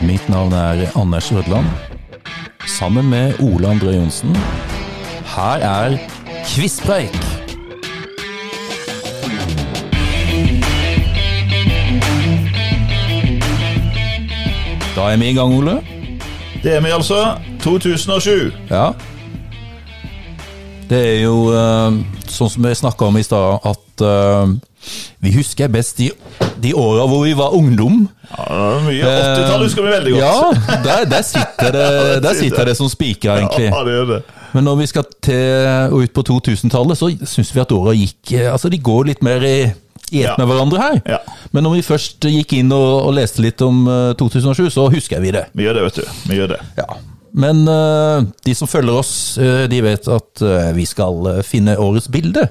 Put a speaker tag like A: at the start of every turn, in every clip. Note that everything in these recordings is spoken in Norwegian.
A: Mitt navn er Anders Rødland. Sammen med Ole André Johnsen. Her er Kvisspreik! Da er vi i gang, Ole.
B: Det er vi altså. 2007.
A: Ja. Det er jo eh, sånn som vi snakka om i stad, at eh, vi husker best de, de åra hvor vi var ungdom.
B: Ja, det er mye 80-tall husker vi veldig godt.
A: Ja, der, der, sitter, det, der sitter det som spikra, egentlig.
B: Ja, det gjør det.
A: Men når vi skal til og ut på 2000-tallet, så syns vi at åra gikk eh, Altså, de går litt mer i i ett
B: Ja.
A: med hverandre her.
B: Ja.
A: Men når vi først gikk inn og, og leste litt om eh, 2007, så husker vi det.
B: Vi gjør det, vet du. Vi gjør det.
A: Ja. Men eh, de som følger oss, eh, de vet at eh, vi skal eh, finne årets bilde.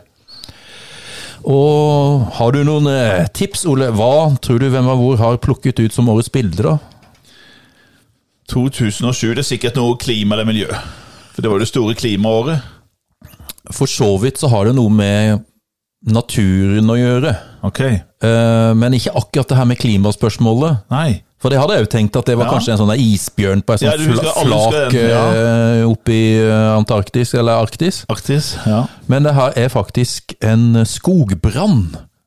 A: Og har du noen eh, tips, Ole? Hva tror du Hvem av hvor har plukket ut som årets bilde, da?
B: 2007 det er sikkert noe klima eller miljø. For det var jo det store klimaåret.
A: For så vidt så har det noe med naturen å gjøre.
B: Ok.
A: Eh, men ikke akkurat det her med klimaspørsmålet.
B: Nei.
A: For det hadde jeg jo tenkt at det var
B: Ja.
A: kanskje en sånn der isbjørn på en sånn
B: Ja, du husker-
A: fla-
B: alle husker
A: flak
B: den, ja.
A: eh, oppe i eh, Antarktis, eller Arktis.
B: Arktis. Ja.
A: Men det her er faktisk en skogbrann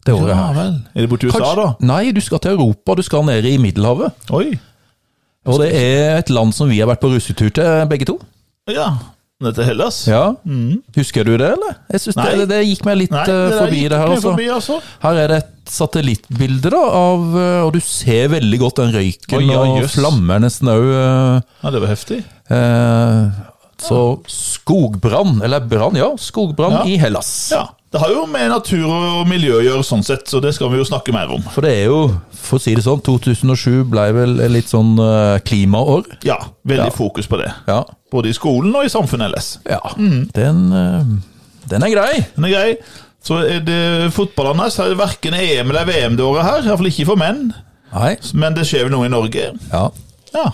A: det året
B: ja
A: her.
B: vel. Er det borti USA,
A: Kanskje- Nei, du skal til Europa. Du skal ned i Middelhavet.
B: da? Oi.
A: Og det er et land som vi har vært på russetur til, begge to.
B: Ja. Ned til Hellas?
A: Ja. Husker du det, eller? Jeg synes
B: Mm. Nei.
A: det, det gikk meg litt
B: Nei,
A: eh,
B: der
A: forbi
B: gikk
A: det her,
B: ikke
A: altså.
B: Forbi, altså.
A: Her er det et satellittbilde, da, av, eh, og du ser veldig godt den røyken
B: Oi, ja,
A: og
B: jøss.
A: flammer nesten òg.
B: Ja, det var heftig.
A: eh, Så skogbrann, eller brann, ja. Skogbrann
B: Ja.
A: i Hellas.
B: Ja. Det har jo med natur og miljø å gjøre, sånn sett, så det skal vi jo snakke mer om.
A: For det er jo, for å si det sånn, 2007 ble vel et litt sånn eh, klimaår.
B: Ja. Veldig fokus på det.
A: Ja.
B: Både i skolen og i samfunnet ellers.
A: ja. Den, eh, den er grei.
B: Den er grei. Så er det fotballen her, så er det hverken EM eller VM det året her. Iallfall ikke for menn.
A: Nei.
B: Men det skjer vel noe i Norge.
A: Ja.
B: Ja.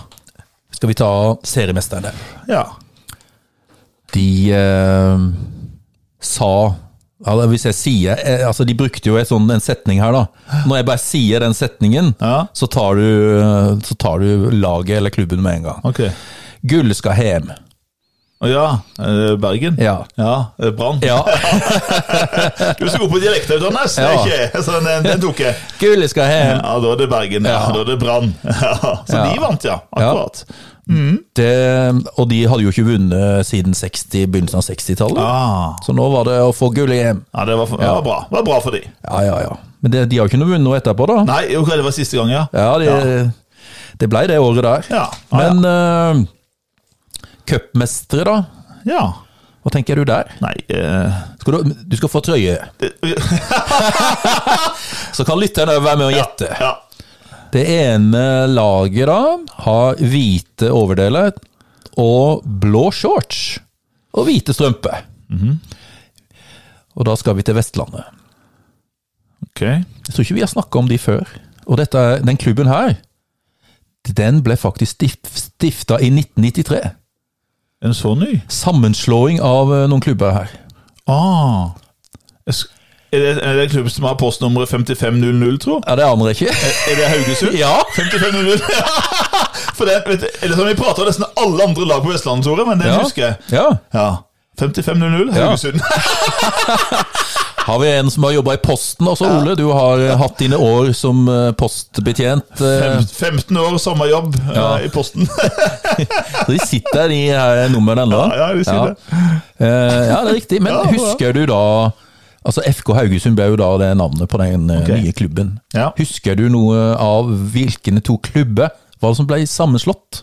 A: Skal vi ta seriemesterne?
B: ja.
A: De eh, sa eller Hvis jeg sier eh, Altså, de brukte jo et sånn, en setning her, da. Når jeg bare sier den setningen,
B: Ja.
A: så, tar du, eh, så tar du laget eller klubben med en gang.
B: Ok.
A: Gull skal hjem.
B: Å ja. eh, Bergen.
A: Ja.
B: eh, Brann.
A: Ja.
B: Du er så god på dialekt, Anders. Det er
A: Ja.
B: ikke jeg. Så den, den tok jeg.
A: Gull skal hjem.
B: Ja, da er det Bergen. Ja.
A: Ja.
B: Da er det Brann. Ja. Så
A: Ja.
B: de vant, ja. Akkurat.
A: Det, og de hadde jo ikke vunnet siden 60, begynnelsen av 60-tallet.
B: Ah.
A: Så nå var det å få gull i EM.
B: Ja, det var, for, det var bra. Det var bra for de.
A: Ja, ja, ja. Men det, de har jo ikke noe vunnet noe etterpå, da.
B: Nei, ok, det var siste gang, ja.
A: Ja, de, Det ble det året der.
B: Ja. Ah, ja.
A: Men eh, cupmestere, da?
B: ja.
A: Hva tenker du der?
B: Nei eh,
A: Skal du, du skal få trøye,
B: det-
A: så kan lytteren også være med og gjette.
B: Ja.
A: Det ene laget da har hvite overdeler og blå shorts og hvite strømper. Mhm. Og da skal vi til Vestlandet.
B: Ok.
A: Jeg tror ikke vi har snakka om de før. Og dette, er- den klubben her, den ble faktisk stifta i 1993.
B: En så ny?
A: Sammenslåing av eh, noen klubber her.
B: Ah. Jeg sk- Er det, er det en klubb som har postnummeret 5500, tro?
A: Ja, det aner jeg ikke.
B: Er det Haugesund?
A: Ja!
B: 5500. For det, vet du, eller sånn, Vi prater om nesten alle andre lag på Vestlandet, Tore, men den
A: Ja.
B: husker jeg.
A: ja.
B: Ja. 5500 Haugesund.
A: Har vi en som har jobba i Posten også, Ole? Du har eh, hatt dine år som eh, postbetjent. eh,
B: Fem- 15 år, samme jobb eh,
A: Ja.
B: i Posten.
A: Så de sitter i her numrene ennå.
B: Ja, ja, de sier det.
A: Eh, ja, det er riktig. Men
B: Ja, ja.
A: husker du da Altså FK Haugesund ble jo da det navnet på den eh, nye klubben.
B: Ja.
A: Husker du noe av hvilke to klubber var det som ble sammenslått?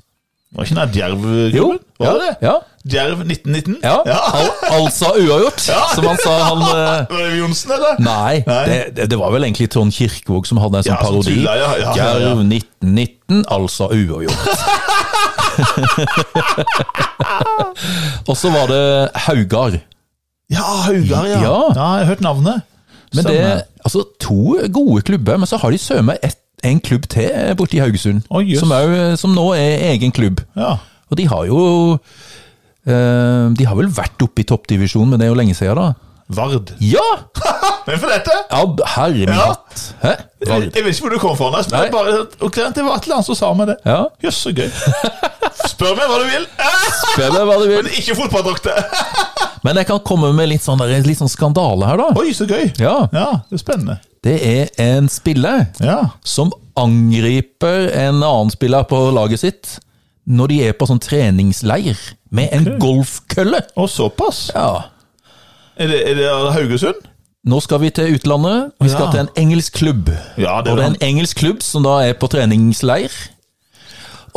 B: Var ikke den Djerv-klubben? Var
A: ja,
B: det det?
A: Ja,
B: Djerv 1919?
A: ja.
B: ja.
A: Al altså uavgjort, som han sa han eh,
B: Var det Johnsen, eller?
A: Nei,
B: Nei.
A: Det, det- det var vel egentlig Trond Kirkevåg som hadde en sånn
B: Ja, som
A: parodi.
B: tulla, ja, ja, ja, ja.
A: Jerv 1919, altså uavgjort. Og så var det Haugar.
B: Ja, Haugar, ja.
A: Ja.
B: Jeg har hørt navnet.
A: Men det,
B: Stemmer.
A: altså To gode klubber, men så har de søren meg ett- en klubb til borti Haugesund.
B: Å, jøss.
A: som, er, som nå er egen klubb.
B: Ja.
A: Og de har jo eh, De har vel vært oppe i toppdivisjonen, men det er jo lenge siden, da.
B: Vard.
A: Ja!
B: Men for dette
A: ja herre min
B: Ja.
A: hatt. Hæ?
B: Jeg,
A: Vard.
B: jeg vet ikke hvor du kom fra, Anders, men
A: Nei.
B: jeg bare, ok, det var et eller annet som sa meg det.
A: Ja.
B: Jøss, så gøy. Spør meg hva du vil,
A: Spør meg hva du vil.
B: men ikke fotballdrakter!
A: Men jeg kan komme med litt sånn, der, litt sånn skandale her, da.
B: Oi, så gøy.
A: Ja,
B: Ja, det er spennende.
A: Det er en spiller
B: Ja.
A: som angriper en annen spiller på laget sitt når de er på sånn treningsleir med en golfkølle.
B: Og såpass.
A: Ja.
B: Er det, er det Haugesund?
A: Nå skal vi til utlandet. Vi skal
B: Ja.
A: til en engelsk klubb.
B: Ja, det er
A: og det er en engelsk klubb som da er på treningsleir.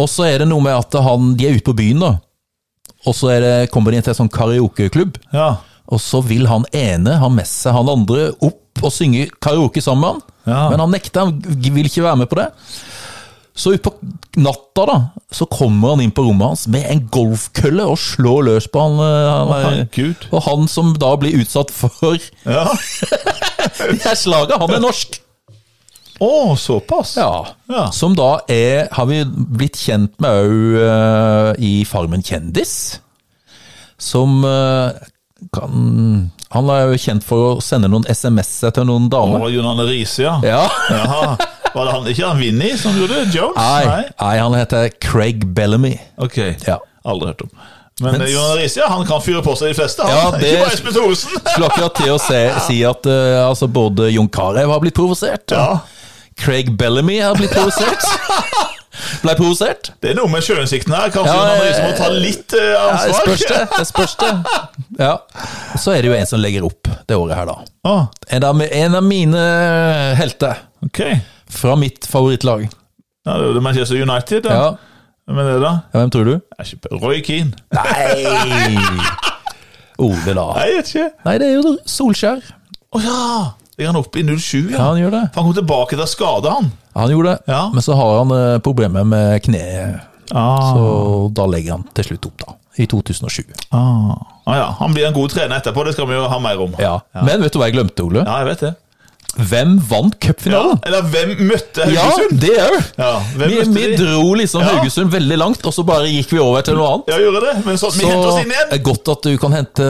A: Og så er det noe med at han, de er ute på byen, da. Og så er det, kommer de til en sånn karaokeklubb.
B: Ja.
A: Og så vil han ene ha med seg han andre opp og synge karaoke sammen med han.
B: Ja.
A: Men han nekter, han vil ikke være med på det. Så utpå natta da, så kommer han inn på rommet hans med en golfkølle og slår løs på han. eh, han er-
B: herregud.
A: og han som da blir utsatt for de
B: ja.
A: her slaga, han er norsk.
B: Å, såpass.
A: Ja.
B: Ja.
A: Som da er, har vi blitt kjent med òg i Farmen kjendis. Som eh, kan Han er jo kjent for å sende noen SMS-er til noen
B: Å,
A: damer.
B: Jon Arne Riise, ja.
A: Ja.
B: Jaha. Var det han, ikke han Vinni som gjorde det? Jones?
A: Nei, nei, han heter Craig Bellamy.
B: Ok.
A: Ja.
B: Aldri hørt om. Men
A: Mens-
B: eh, Jon Arne Riise, ja, han kan fyre på seg de fleste. Han.
A: Ja, det-
B: Ikke bare Espen Thoresen.
A: Skulle akkurat til å se, si at eh, altså både Jon Carew har blitt provosert.
B: Ja.
A: Craig Bellamy har blitt provosert. Ble provosert.
B: Det er noe med sjøinsikten her. Kanskje
A: Ja,
B: Jon Arne Riise
A: eh,
B: må ta litt eh,
A: Ja, det
B: ansvar?
A: spørs det. det, spørs det. Ja. Så er det jo en som legger opp det året her, da.
B: Ah,
A: En av, en av mine helter
B: ok. Ja,
A: fra mitt favorittlag.
B: det er jo Manchester United, da.
A: Ja,
B: Hvem er det, da?
A: ja Hvem tror du?
B: Jeg er ikke- Roy Keane.
A: Nei! Ole, da.
B: Nei, jeg vet ikke.
A: Nei, det er jo Solskjær.
B: Å ja! Ligger han oppe i 07,
A: Ja,
B: ja.
A: han gjør det.
B: For han kom tilbake til skade, han.
A: Han gjorde det,
B: Ja.
A: men så har han eh, problemer med kneet. Ah. Og da legger han til slutt opp, da. I 2007.
B: Ah. Ah, ja. Han blir en god trener etterpå, det skal vi jo ha mer om.
A: Ja. Men vet du hva jeg glemte, Ole?
B: Ja, jeg vet det.
A: Hvem vant
B: Ja.
A: cupfinalen?
B: Eller hvem møtte
A: Ja,
B: Haugesund?
A: det òg!
B: Ja, hvem
A: Vi,
B: møtte
A: vi
B: de?
A: dro liksom
B: Ja.
A: Haugesund veldig langt, og så bare gikk vi over til noe annet.
B: Ja, gjorde det, men sånn, vi
A: Så
B: henter oss inn igjen.
A: er godt at du kan hente,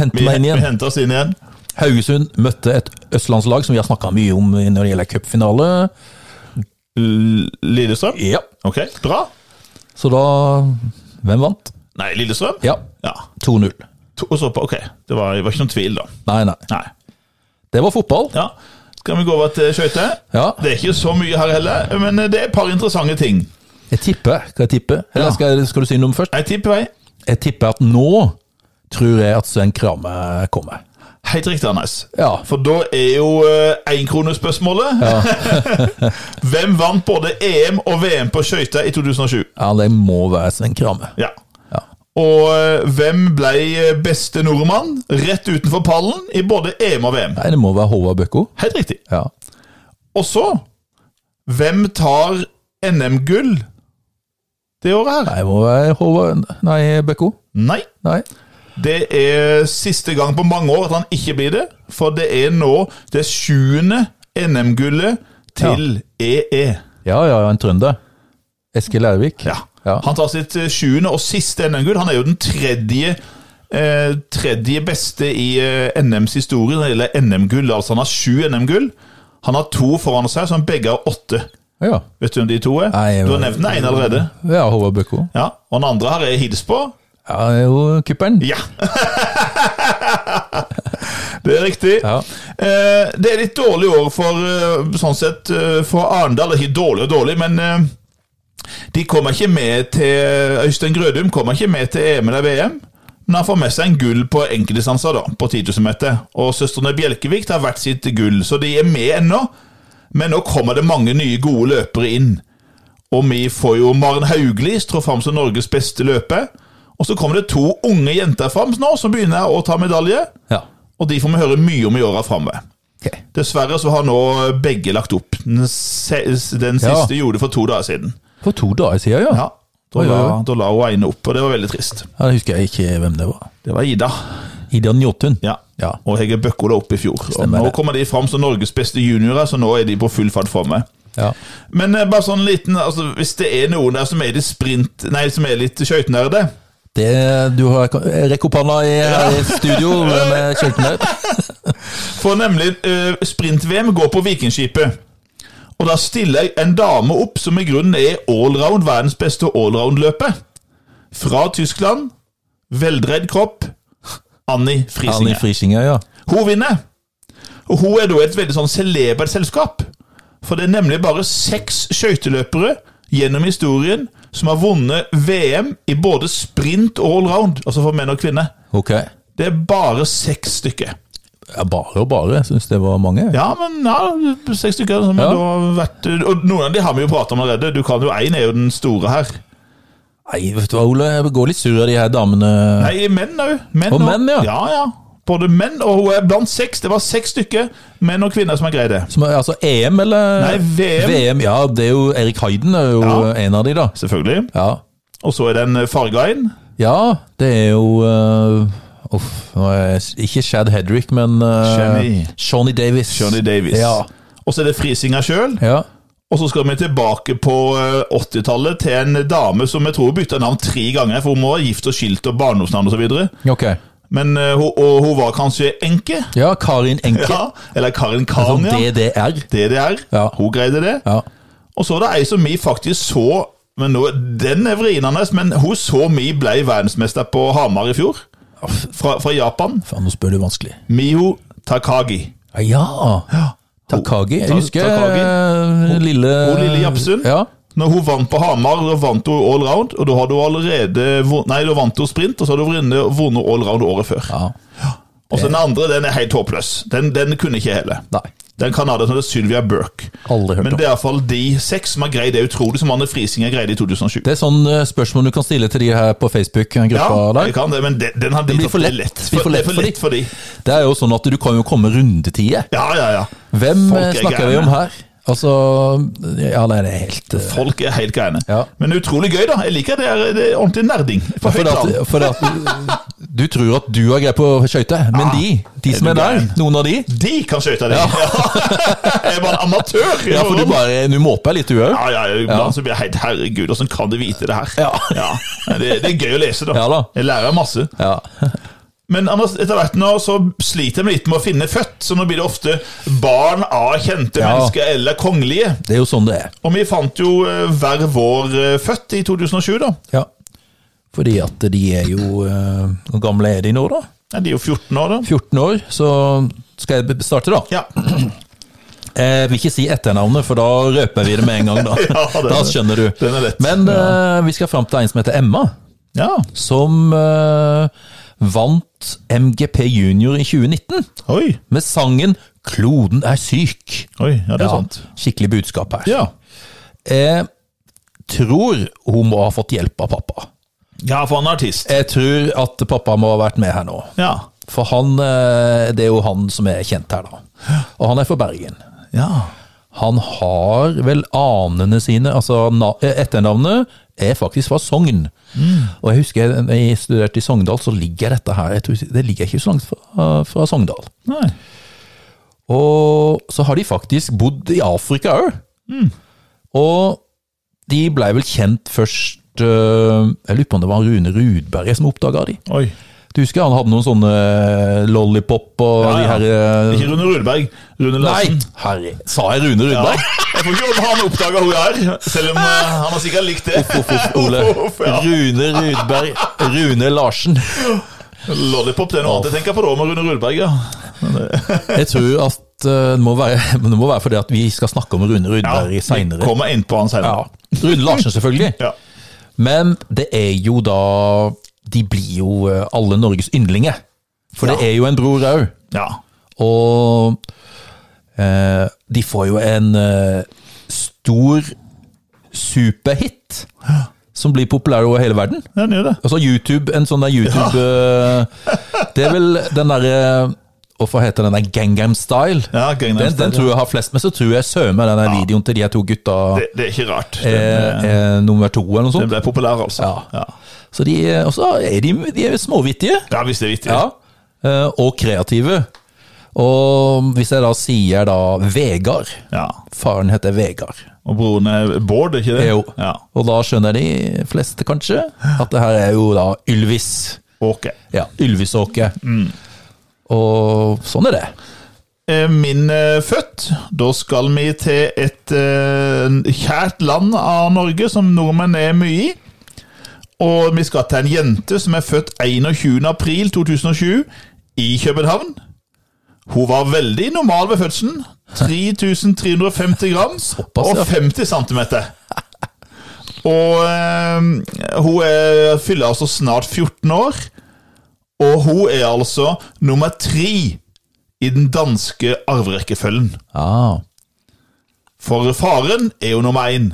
A: hente
B: Vi,
A: meg inn
B: vi
A: igjen.
B: henter oss inn igjen.
A: Haugesund møtte et østlandslag som vi har snakka mye om når det gjelder cupfinale.
B: L- Lillestrøm?
A: Ja.
B: Ok, bra.
A: Så da Hvem vant?
B: Nei, Lillestrøm?
A: Ja, 2-0.
B: To, og så på, ok, det var, det var ikke noen tvil da.
A: Nei, nei.
B: Nei.
A: Det var fotball.
B: Ja, skal vi gå over til skøyte?
A: Ja.
B: Det er ikke så mye her heller, men det er et par interessante ting.
A: Jeg tipper. Skal jeg tippe? Eller
B: Ja.
A: skal, skal du si noe om først?
B: Jeg tipper vei.
A: Jeg tipper at nå tror jeg at Sven Krame kommer.
B: Helt riktig, Anders.
A: Ja.
B: For da er jo énkronespørsmålet Hvem vant både EM og VM på skøyter i 2007?
A: ja, det må være Sven Krame.
B: Ja.
A: Ja.
B: Og eh, hvem ble eh, beste nordmann rett utenfor pallen i både EM og VM?
A: Nei, det må være Håvard Bøkko.
B: Helt riktig.
A: Ja.
B: Og så Hvem tar NM-gull det året her?
A: Nei, det må være Håvard Nei, Bøkko.
B: Nei.
A: Nei.
B: Det er siste gang på mange år at han ikke blir det, for det er nå det sjuende NM-gullet til E EE.
A: Ja, ja, ja, en trønder. Eskil Ervik.
B: Ja.
A: Ja.
B: Han tar sitt eh, sjuende og siste NM-gull. Han er jo den tredje, eh, tredje beste i eh, NMs historie når det gjelder NM-gull. Altså Han har sju NM-gull. Han har to foran seg, som begge har åtte.
A: Ja,
B: Vet du hvem de to er?
A: Nei,
B: du har
A: men-
B: nevnt den ene allerede.
A: ja Håvard Bøkko.
B: Ja, Og den andre her er hils på.
A: Ja, det er jo kupperen.
B: Ja! det er riktig.
A: Ja.
B: Eh, det er litt dårlig år for eh, sånn sett eh, for Arendal. Ikke dårlig og dårlig, men eh, de kommer ikke med til Øystein Grødum kommer ikke med til EM eller VM. Men han får med seg en gull på enkeltdistanser, da, på 10 000 meter. Og søstrene Bjelkevik har hvert sitt gull, så de er med ennå. Men nå kommer det mange nye gode løpere inn. Og vi får jo Maren Haugli trå fram som Norges beste løper. Og så kommer det to unge jenter fram nå, som begynner å ta medalje.
A: Ja.
B: Og de får vi høre mye om i åra framover.
A: Ok.
B: Dessverre så har nå begge lagt opp. Den, se den
A: Ja.
B: siste gjorde det for to dager siden.
A: For to dager siden, ja.
B: Ja, da,
A: Oi, oi,
B: la,
A: oi.
B: da la hun ene opp, og det var veldig trist.
A: Ja, Jeg husker jeg ikke hvem det var.
B: Det var Ida.
A: Ida Njåtun.
B: Ja.
A: Ja.
B: Og Hege Bøkko la opp i fjor. Og
A: Stemmer
B: nå
A: det.
B: kommer de fram som Norges beste juniorer, så nå er de på full fart framme.
A: ja.
B: Men eh, bare sånn liten, altså, hvis det er noen der som er litt sprint, nei, som er litt skøytenerde,
A: Det, du har rekk opp hånda i, i studio med skiltene.
B: For nemlig eh, sprint-VM går på Vikingskipet. Og da stiller en dame opp som i grunnen er allround verdens beste allround-løper. Fra Tyskland. Veldredd kropp. Anni
A: Annie
B: Frisinger.
A: Frisinger, ja.
B: Hun vinner. Og hun er da et veldig sånn celebert selskap. For det er nemlig bare seks skøyteløpere gjennom historien som har vunnet VM i både sprint og allround, altså for menn og kvinner.
A: Ok. Ja,
B: Det er bare seks stykker.
A: bare og bare, jeg syns det var mange.
B: Ja, men ja, seks stykker. Men
A: Ja.
B: da vet du, og noen av de har vi jo pratet om allerede. Du kan jo Én er jo den store her.
A: Nei, vet du hva, Ole, jeg går litt sur av de her damene.
B: Nei, menn òg.
A: Og menn, ja.
B: ja, ja. Både menn og hun er blant seks. Det var seks stykker menn og kvinner som har greid det.
A: Som er, altså EM, eller?
B: Nei, VM.
A: Ja, det er jo Erik Heiden er jo
B: Ja.
A: en av de, da.
B: Selvfølgelig.
A: Ja.
B: Og så er det en eh, farga en.
A: ja, det er jo eh, Uff, nå er jeg- ikke Shad Hedrick, men
B: Shawnee.
A: uh, Shawnee Davis.
B: Johnny Davis.
A: Ja.
B: Og så er det frisinga sjøl.
A: ja.
B: Og så skal vi tilbake på eh, 80-tallet til en dame som jeg tror bytta navn tre ganger, for hun må ha gift og skilt og barndomsnavn osv.
A: Ok.
B: Men eh, hun, og hun var kanskje enke?
A: Ja, Karin Enke.
B: Ja. Eller Karin
A: Sånn
B: Kania.
A: DDR.
B: DDR.
A: Ja.
B: Hun greide det.
A: Ja.
B: Og så var det ei som vi faktisk så men nå, Den er vrien hans, men hun så vi ble verdensmester på Hamar i fjor. Fra, fra Japan.
A: Faen, nå spør du vanskelig. Ah,
B: Mio Takagi.
A: Ja! Takagi. Jeg
B: Ta-
A: husker
B: Takagi.
A: eh, lille
B: hun lille Japsund.
A: Ja.
B: Når hun vant på Hamar, da vant hun allround, og da hadde hun allerede vun- Nei, da vant hun sprint, og så hadde hun vunnet- vunnet allround året før.
A: ja.
B: Og så den andre, den er helt håpløs. Den, den kunne ikke jeg heller.
A: Nei.
B: Den canadieren heter Sylvia Burke.
A: Aldri hørt
B: Men
A: om.
B: det er iallfall de seks som har greid det utrolig som Anne Frisinger greide i 2007.
A: Det er sånn eh, spørsmål du kan stille til de her på
B: Ja,
A: Facebook-gruppa der.
B: jeg kan det, men den, den har
A: blir for
B: det er
A: lett. Det blir
B: For,
A: for
B: det
A: lett
B: er for
A: for
B: lett for de.
A: Det er jo sånn at du kan jo komme rundetider.
B: Ja, ja, ja.
A: Hvem
B: Folk
A: eh,
B: er
A: snakker vi
B: gærne.
A: om her? Altså Ja, nei, det er helt eh,
B: Folk er helt gærne.
A: Ja.
B: Men utrolig gøy, da. Jeg liker det. er- Det er ordentlig nerding.
A: for
B: På høyt
A: det
B: plan.
A: at, for det at du tror at du har greie på skøyter, men de, de som
B: er
A: er
B: du
A: der,
B: gæren?
A: noen av de
B: De kan skøyte, de. jeg er bare en amatør. i
A: Ja, for du
B: forhold.
A: bare Du måper litt, du òg?
B: Ja, ja, iblant så blir jeg helt Herregud, åssen kan du vite det her?
A: Ja.
B: Men Det, det er gøy å lese, da.
A: Ja da.
B: Jeg lærer masse.
A: Ja.
B: Men Anders, etter hvert nå så sliter jeg litt med å finne født, så nå blir det ofte barn av kjente
A: Ja.
B: mennesker eller kongelige.
A: Det er jo sånn det er.
B: Og vi fant jo eh, hver vår eh, født i 2007, da.
A: Ja. Fordi at de er jo eh, Hvor gamle er de nå, da?
B: Ja, de er jo 14 år, da.
A: 14 år. Så skal jeg be- starte, da?
B: Ja.
A: Jeg vil ikke si etternavnet, for da røper vi det med en gang. Da,
B: Ja, den er-
A: da skjønner du.
B: den er lett.
A: Men eh, vi skal fram til en som heter Emma,
B: ja.
A: som eh, vant MGP Junior i 2019
B: Oi.
A: med sangen 'Kloden er syk'.
B: Oi, ja, det er
A: Ja,
B: sant.
A: skikkelig budskap her.
B: Ja.
A: Jeg tror hun må ha fått hjelp av pappa.
B: ja, for han er artist.
A: Jeg tror at pappa må ha vært med her nå.
B: Ja.
A: For han, eh, det er jo han som er kjent her, da. Og han er fra Bergen.
B: ja.
A: Han har vel anene sine Altså na- eh, etternavnet er faktisk fra Sogn. Og jeg husker jeg- jeg studerte i Sogndal, så ligger dette her jeg tror, Det ligger ikke så langt fra, fra Sogndal.
B: Nei.
A: Og så har de faktisk bodd i Afrika òg.
B: Mm.
A: Og de blei vel kjent først eh, Jeg lurer på om det var Rune Rudberg som oppdaga de.
B: Oi.
A: Du husker han hadde noen sånne eh, lollipop og
B: Ja, ja.
A: de her eh,
B: Ikke Rune Rudberg. Rune Larsen.
A: Nei, herre, sa jeg Rune
B: Ja.
A: Rudberg?
B: Jeg tror ikke om han oppdaga hun er, selv om eh, han har sikkert likt det.
A: Uff, uff, Ole.
B: Uff, ja.
A: Rune Rudberg. Rune Larsen.
B: Lollipop det er noe annet jeg tenker på da, med Rune Rudberg, ja.
A: Jeg tror at eh, det må være, det må være fordi at vi skal snakke om Rune Rudberg
B: ja. vi
A: seinere.
B: Kommer inn på han
A: Ja.
B: senere.
A: Rune Larsen, selvfølgelig.
B: Ja.
A: Men det er jo da De blir jo eh, alle Norges yndlinger. For det
B: Ja.
A: er jo en bror òg.
B: Ja.
A: Og eh, de får jo en eh, stor superhit som blir populær over hele verden.
B: Ja, han gjør det.
A: Altså YouTube, en sånn der YouTube eh, Det er vel den derre og hva heter den der Gangnam Style?
B: Ja, Gangnam
A: den, den
B: Style,
A: tror jeg har flest, men så tror jeg søme den der videoen til de her to gutta
B: det. Det er ikke rart.
A: er,
B: Den, eh,
A: er Eh, nummer to, eller noe
B: den
A: sånt.
B: ble populær, altså.
A: Ja.
B: Ja,
A: Så de, eh, er- og så er de, de er småvittige.
B: ja hvis det er viktig.
A: Ja. eh, Og kreative. Og hvis jeg da sier da Vegard
B: Ja.
A: Faren heter Vegard.
B: Og broren er Bård, er ikke det?
A: Jo.
B: Ja.
A: Og da skjønner de fleste kanskje at det her er jo da Ylvis.
B: Ok.
A: Ja, Ylvisåke.
B: Mm.
A: Og sånn er det.
B: Eh, Min eh, født. Da skal vi til et eh, kjært land av Norge, som nordmenn er mye i. Og vi skal til en jente som er født 21. april 2007 i København. Hun var veldig normal ved fødselen. 3350 gram og
A: ja.
B: 50 centimeter. Og eh, hun er, fyller altså snart 14 år. Og hun er altså nummer tre i den danske arverekkefølgen.
A: Ah,
B: For faren er jo nummer én.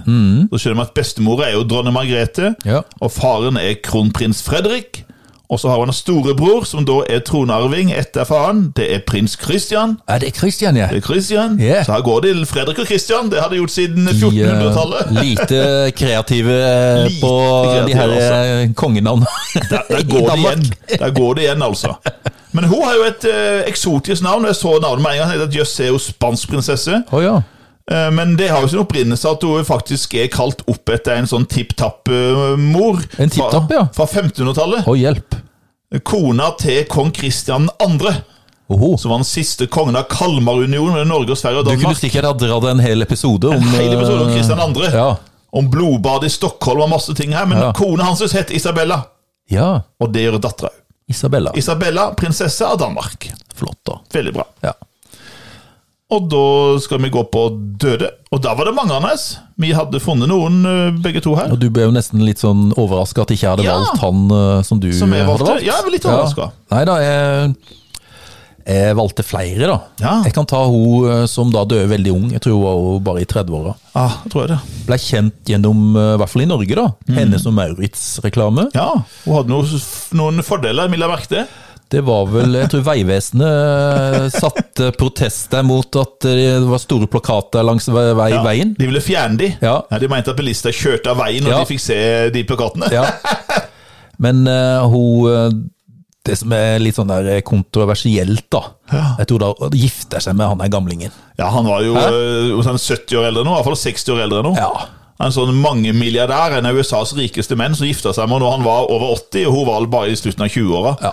B: Så skjønner vi at bestemora er jo dronning Margrethe,
A: Mm. Ja.
B: og faren er kronprins Fredrik. Og så har han en storebror, som da er tronarving etter faren. Det er prins Christian.
A: er det Christian, ja?
B: Det er Christian.
A: Ja.
B: Så her går det til Fredrik og Christian. Det har de gjort siden
A: De, eh,
B: 1400-tallet.
A: lite kreative
B: Lite
A: på de her
B: kreative, altså.
A: eh, kongenavnene
B: Der, der
A: i
B: går det
A: Danmark.
B: igjen, der går det igjen altså. Men hun har jo et eh, eksotisk navn. og Jeg så navnet med en gang. Jeg tenkte at Jøss, er hun spansk prinsesse?
A: Å ja.
B: Eh, Men det har jo sin opprinnelse at hun faktisk er kalt opp etter en sånn tipp-tapp-mor.
A: En tipp-tapp,
B: fra,
A: ja.
B: Fra 1500-tallet.
A: Å, hjelp.
B: Kona til kong Kristian 2.,
A: Oho.
B: som var den siste kongen av Kalmarunionen mellom Norge og Sverige og
A: Du kunne
B: Danmark.
A: sikkert ha dratt en hel episode om
B: Hele episoden om
A: eh,
B: Kristian 2.
A: Ja.
B: Om blodbad i Stockholm og masse ting her. Men
A: Ja.
B: kona hans het Isabella,
A: ja.
B: og det gjør dattera òg.
A: Isabella.
B: Isabella, prinsesse av Danmark.
A: Flott, da.
B: Veldig bra.
A: Ja.
B: Og da skal vi gå på døde. Og da var det mange, Anders. Vi hadde funnet noen, eh, begge to her.
A: Og du ble jo nesten litt sånn overraska at ikke jeg hadde
B: Ja.
A: valgt han eh, som du
B: Som jeg
A: eh,
B: valgte?
A: hadde valgt.
B: Ja, jeg var litt overrasket.
A: Ja. Nei da, jeg, jeg valgte flere, da.
B: Ja.
A: Jeg kan ta hun eh, som da døde veldig ung, jeg tror hun var jo bare i 30-åra.
B: Ah, jeg tror jeg det.
A: Ble kjent gjennom, eh, i hvert fall i Norge, da,
B: Mm.
A: hennes og Maurits-reklame.
B: Ja, hun hadde noen, noen fordeler, vil jeg merke det.
A: Det var vel Jeg tror Vegvesenet eh, satte protester mot at eh, det var store plakater langs vei, vei,
B: Ja,
A: veien.
B: De ville fjerne de.
A: Ja.
B: de mente at bilister kjørte av veien når
A: Ja.
B: de fikk se de plakatene.
A: Ja. Men eh, hun eh, Det som er litt sånn der kontroversielt, da. Jeg tror da hun gifter seg med han der gamlingen.
B: Ja, han var jo eh, sånn 70 år eldre nå, i hvert fall 60 år eldre nå.
A: Ja.
B: En sånn mangemilliardær, en av USAs rikeste menn, som gifta seg med henne når han var over 80, og hun var bare i slutten av 20-åra.
A: Ja.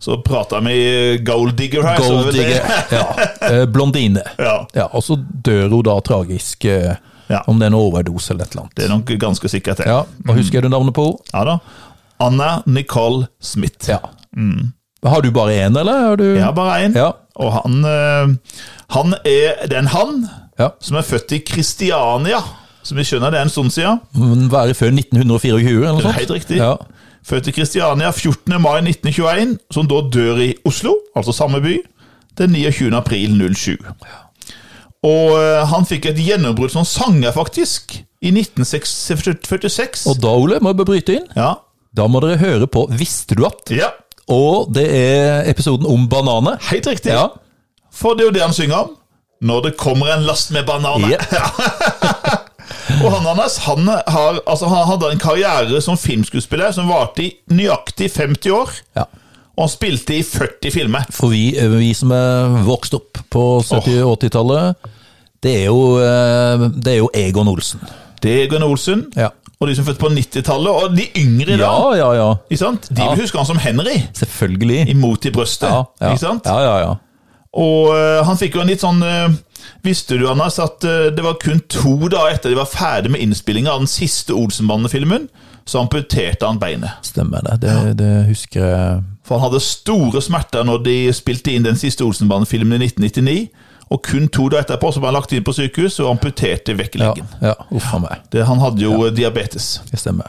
B: Så prata vi gold digger her. så
A: Gold
B: vel det-
A: digger. Ja. Eh, Blondine.
B: Ja.
A: Ja, og så dør hun da tragisk, eh,
B: Ja.
A: om det er en overdose eller et eller annet.
B: Det er nok ganske sikkert, det.
A: Ja, Hva husker du navnet på henne?
B: Ja da. Anna Nicole Smith.
A: Ja.
B: Mm.
A: Har du bare én, eller? Har du...
B: Jeg har bare én,
A: Ja.
B: og han, eh, han er Det er en han
A: Ja.
B: som er født i Kristiania. Som vi skjønner, det er en stund siden.
A: Men Være før 1924, eller noe
B: Det er
A: sånt?
B: helt riktig.
A: Ja.
B: Født i Kristiania 14. mai 1921, som da dør i Oslo, altså samme by, den 29. april 07. Og eh, han fikk et gjennombrudd som sanger, faktisk, i 1946.
A: Og da, Ole, må jeg bare bryte inn.
B: Ja.
A: Da må dere høre på Visste du at?
B: ja,
A: Og det er episoden om bananer.
B: helt riktig.
A: Ja.
B: For det er jo det han synger om. Når det kommer en last med bananer.
A: Jep.
B: Og han hans han, har, altså, han hadde en karriere som filmskuespiller som varte i nøyaktig 50 år.
A: Ja.
B: Og han spilte i 40 filmer.
A: For vi, eh, vi som er vokst opp på 70- og 80-tallet, det, er jo, eh, det er jo Egon Olsen.
B: Det er Gunnar Olsen.
A: Ja.
B: Og de som er født på 90-tallet, og de yngre i
A: Ja,
B: dag.
A: ja, ja.
B: Ikke sant? De
A: Ja.
B: vil huske han som Henry.
A: Selvfølgelig.
B: Imot i brøstet.
A: Ja, ja.
B: Ikke sant?
A: Ja, ja, ja.
B: Og eh, han fikk jo en litt sånn eh, Visste du, Anders, at eh, det var kun to dager etter de var ferdig med innspillinga av den siste Olsenbanden-filmen, så amputerte han beinet.
A: Stemmer det. Det, det husker jeg.
B: For han hadde store smerter når de spilte inn den siste Olsenbanen-filmen i 1999. Og kun to dager etterpå så ble han lagt inn på sykehus og amputerte vekk
A: Ja,
B: leggen.
A: ja. Uff a meg.
B: Det- Han hadde jo eh, diabetes.
A: Det stemmer.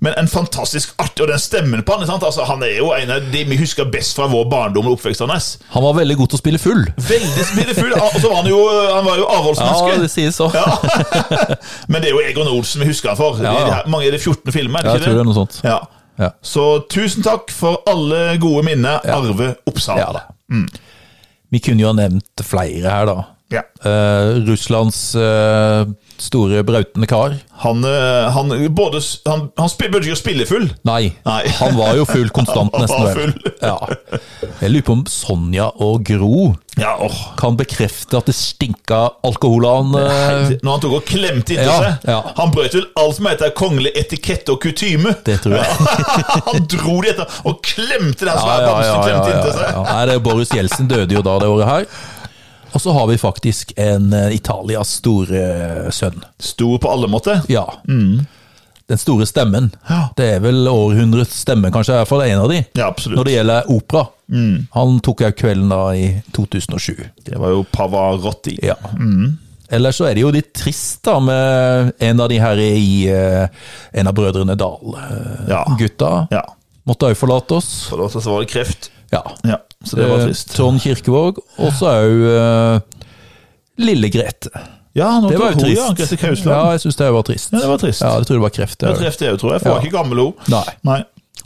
B: Men en fantastisk artig Og den stemmen på han, ikke sant? Altså, han er jo en av de vi husker best fra vår barndom og oppvekst hans.
A: Han var veldig god til å spille full.
B: Veldig spillefull. Og så var han jo, han var jo avholdsmenneske.
A: Ja, det sies så.
B: Ja. Men det er jo Egon Olsen vi husker han for.
A: Ja, ja.
B: Det er- Mange er det 14 filmer, er
A: Ja, jeg
B: det
A: tror
B: ikke
A: det er
B: det?
A: noe sånt.
B: Ja.
A: Ja.
B: Så tusen takk for alle gode minner, Arve Oppsal.
A: Ja da. Vi kunne jo ha nevnt flere her, da.
B: Mm. Ja.
A: Eh, Russlands eh, store brautende kar.
B: Han, eh, han, både, s- han, han spil, burde ikke spille full.
A: Nei,
B: Nei.
A: han var jo full konstant, nesten.
B: Han var
A: vel.
B: full.
A: Ja. Jeg lurer på om Sonja og Gro
B: Ja, åh.
A: kan bekrefte at det stinka alkohol av han. eh,
B: Når han tok og klemte inntil
A: Ja,
B: seg.
A: ja.
B: Han brøt vel alt som heter kongelig etikette og kutyme.
A: Det tror jeg.
B: han dro det etter og klemte den
A: Ja, ja,
B: svære bamsen
A: ja, ja,
B: klemte
A: ja,
B: inntil seg.
A: ja. Nei, det er Boris Jeltsin døde jo da det året her. Og så har vi faktisk en eh, Italias store eh, sønn.
B: Stor på alle måter.
A: Ja. Den store stemmen.
B: Mm. Ja.
A: Det er vel århundrets stemme, kanskje, i hvert fall en av de.
B: Ja, absolutt. Mm.
A: Når det gjelder opera. Han tok jeg kvelden da i 2007.
B: Det var jo Pavarotti.
A: Ja. Mm. Ellers så er det jo litt trist da med en av de her i eh, en av brødrene
B: Ja.
A: Dal-gutta.
B: Ja.
A: Måtte òg forlate oss.
B: For da så var det kreft.
A: Ja.
B: Ja, så det var
A: Eh,
B: trist.
A: Trond Kirkevåg, og så òg uh, Lille Grete.
B: Ja, nå
A: Det var jo
B: tok hun,
A: trist.
B: Ja, Grete
A: Ja,
B: Kausland.
A: jeg syns det var trist.
B: Ja, det var trist.
A: Ja, det tror jeg var kreft. det
B: Jeg
A: også.
B: traff det òg, tror jeg. For
A: Ja.
B: jeg var ikke gammel hun.
A: Nei.
B: Nei.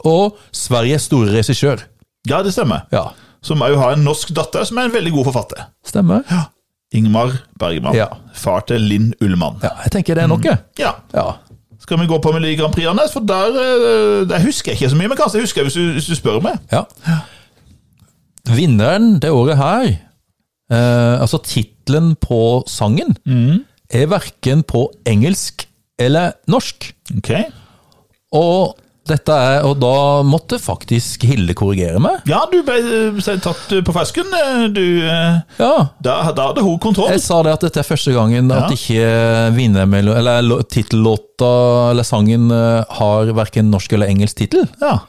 A: Og Sveriges store regissør.
B: Ja, det stemmer.
A: Ja,
B: Som òg har en norsk datter som er en veldig god forfatter.
A: stemmer. Ja.
B: Ingmar Bergman.
A: Ja.
B: Far til Linn Ullmann.
A: jeg tenker det er noe.
B: Ja.
A: Mm. Ja.
B: Skal vi gå på Melodi Grand Prix, Anders? For der, eh, der husker jeg ikke så mye, men kanskje jeg husker hvis du, hvis du spør meg.
A: ja. Vinneren det året her, eh, altså tittelen på sangen, er verken på engelsk eller norsk.
B: Ok.
A: Og dette er, og da måtte faktisk Hilde korrigere meg.
B: Ja, du ble eh, seg tatt eh, på fersken. eh, Du, eh,
A: Ja,
B: da, da hadde hun kontroll.
A: Jeg sa det at dette er første gangen at
B: Ja.
A: ikke vinnermelo... Eller lo- tittellåta eller sangen eh, har verken norsk eller engelsk tittel.
B: Ja.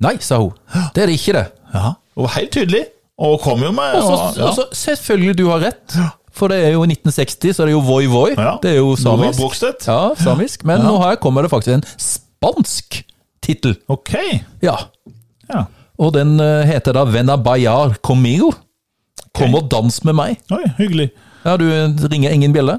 A: Nei, sa hun. Det er det ikke, det.
B: ja. Hun var helt tydelig, og hun kom jo med
A: Og så,
B: og- ja.
A: og så, selvfølgelig, du har rett. For det er jo i 1960, så er det jo voi voi.
B: Ja.
A: Det er jo
B: Nora
A: samisk.
B: Brogstedt.
A: Ja, samisk. Men nå her kommer det faktisk en spansk tittel.
B: Ok.
A: Ja.
B: Ja.
A: Og den eh, heter da Vena Bayar Comigo. Kom og dans med meg.
B: Oi, hyggelig.
A: Ja, du eh, ringer ingen bjelle?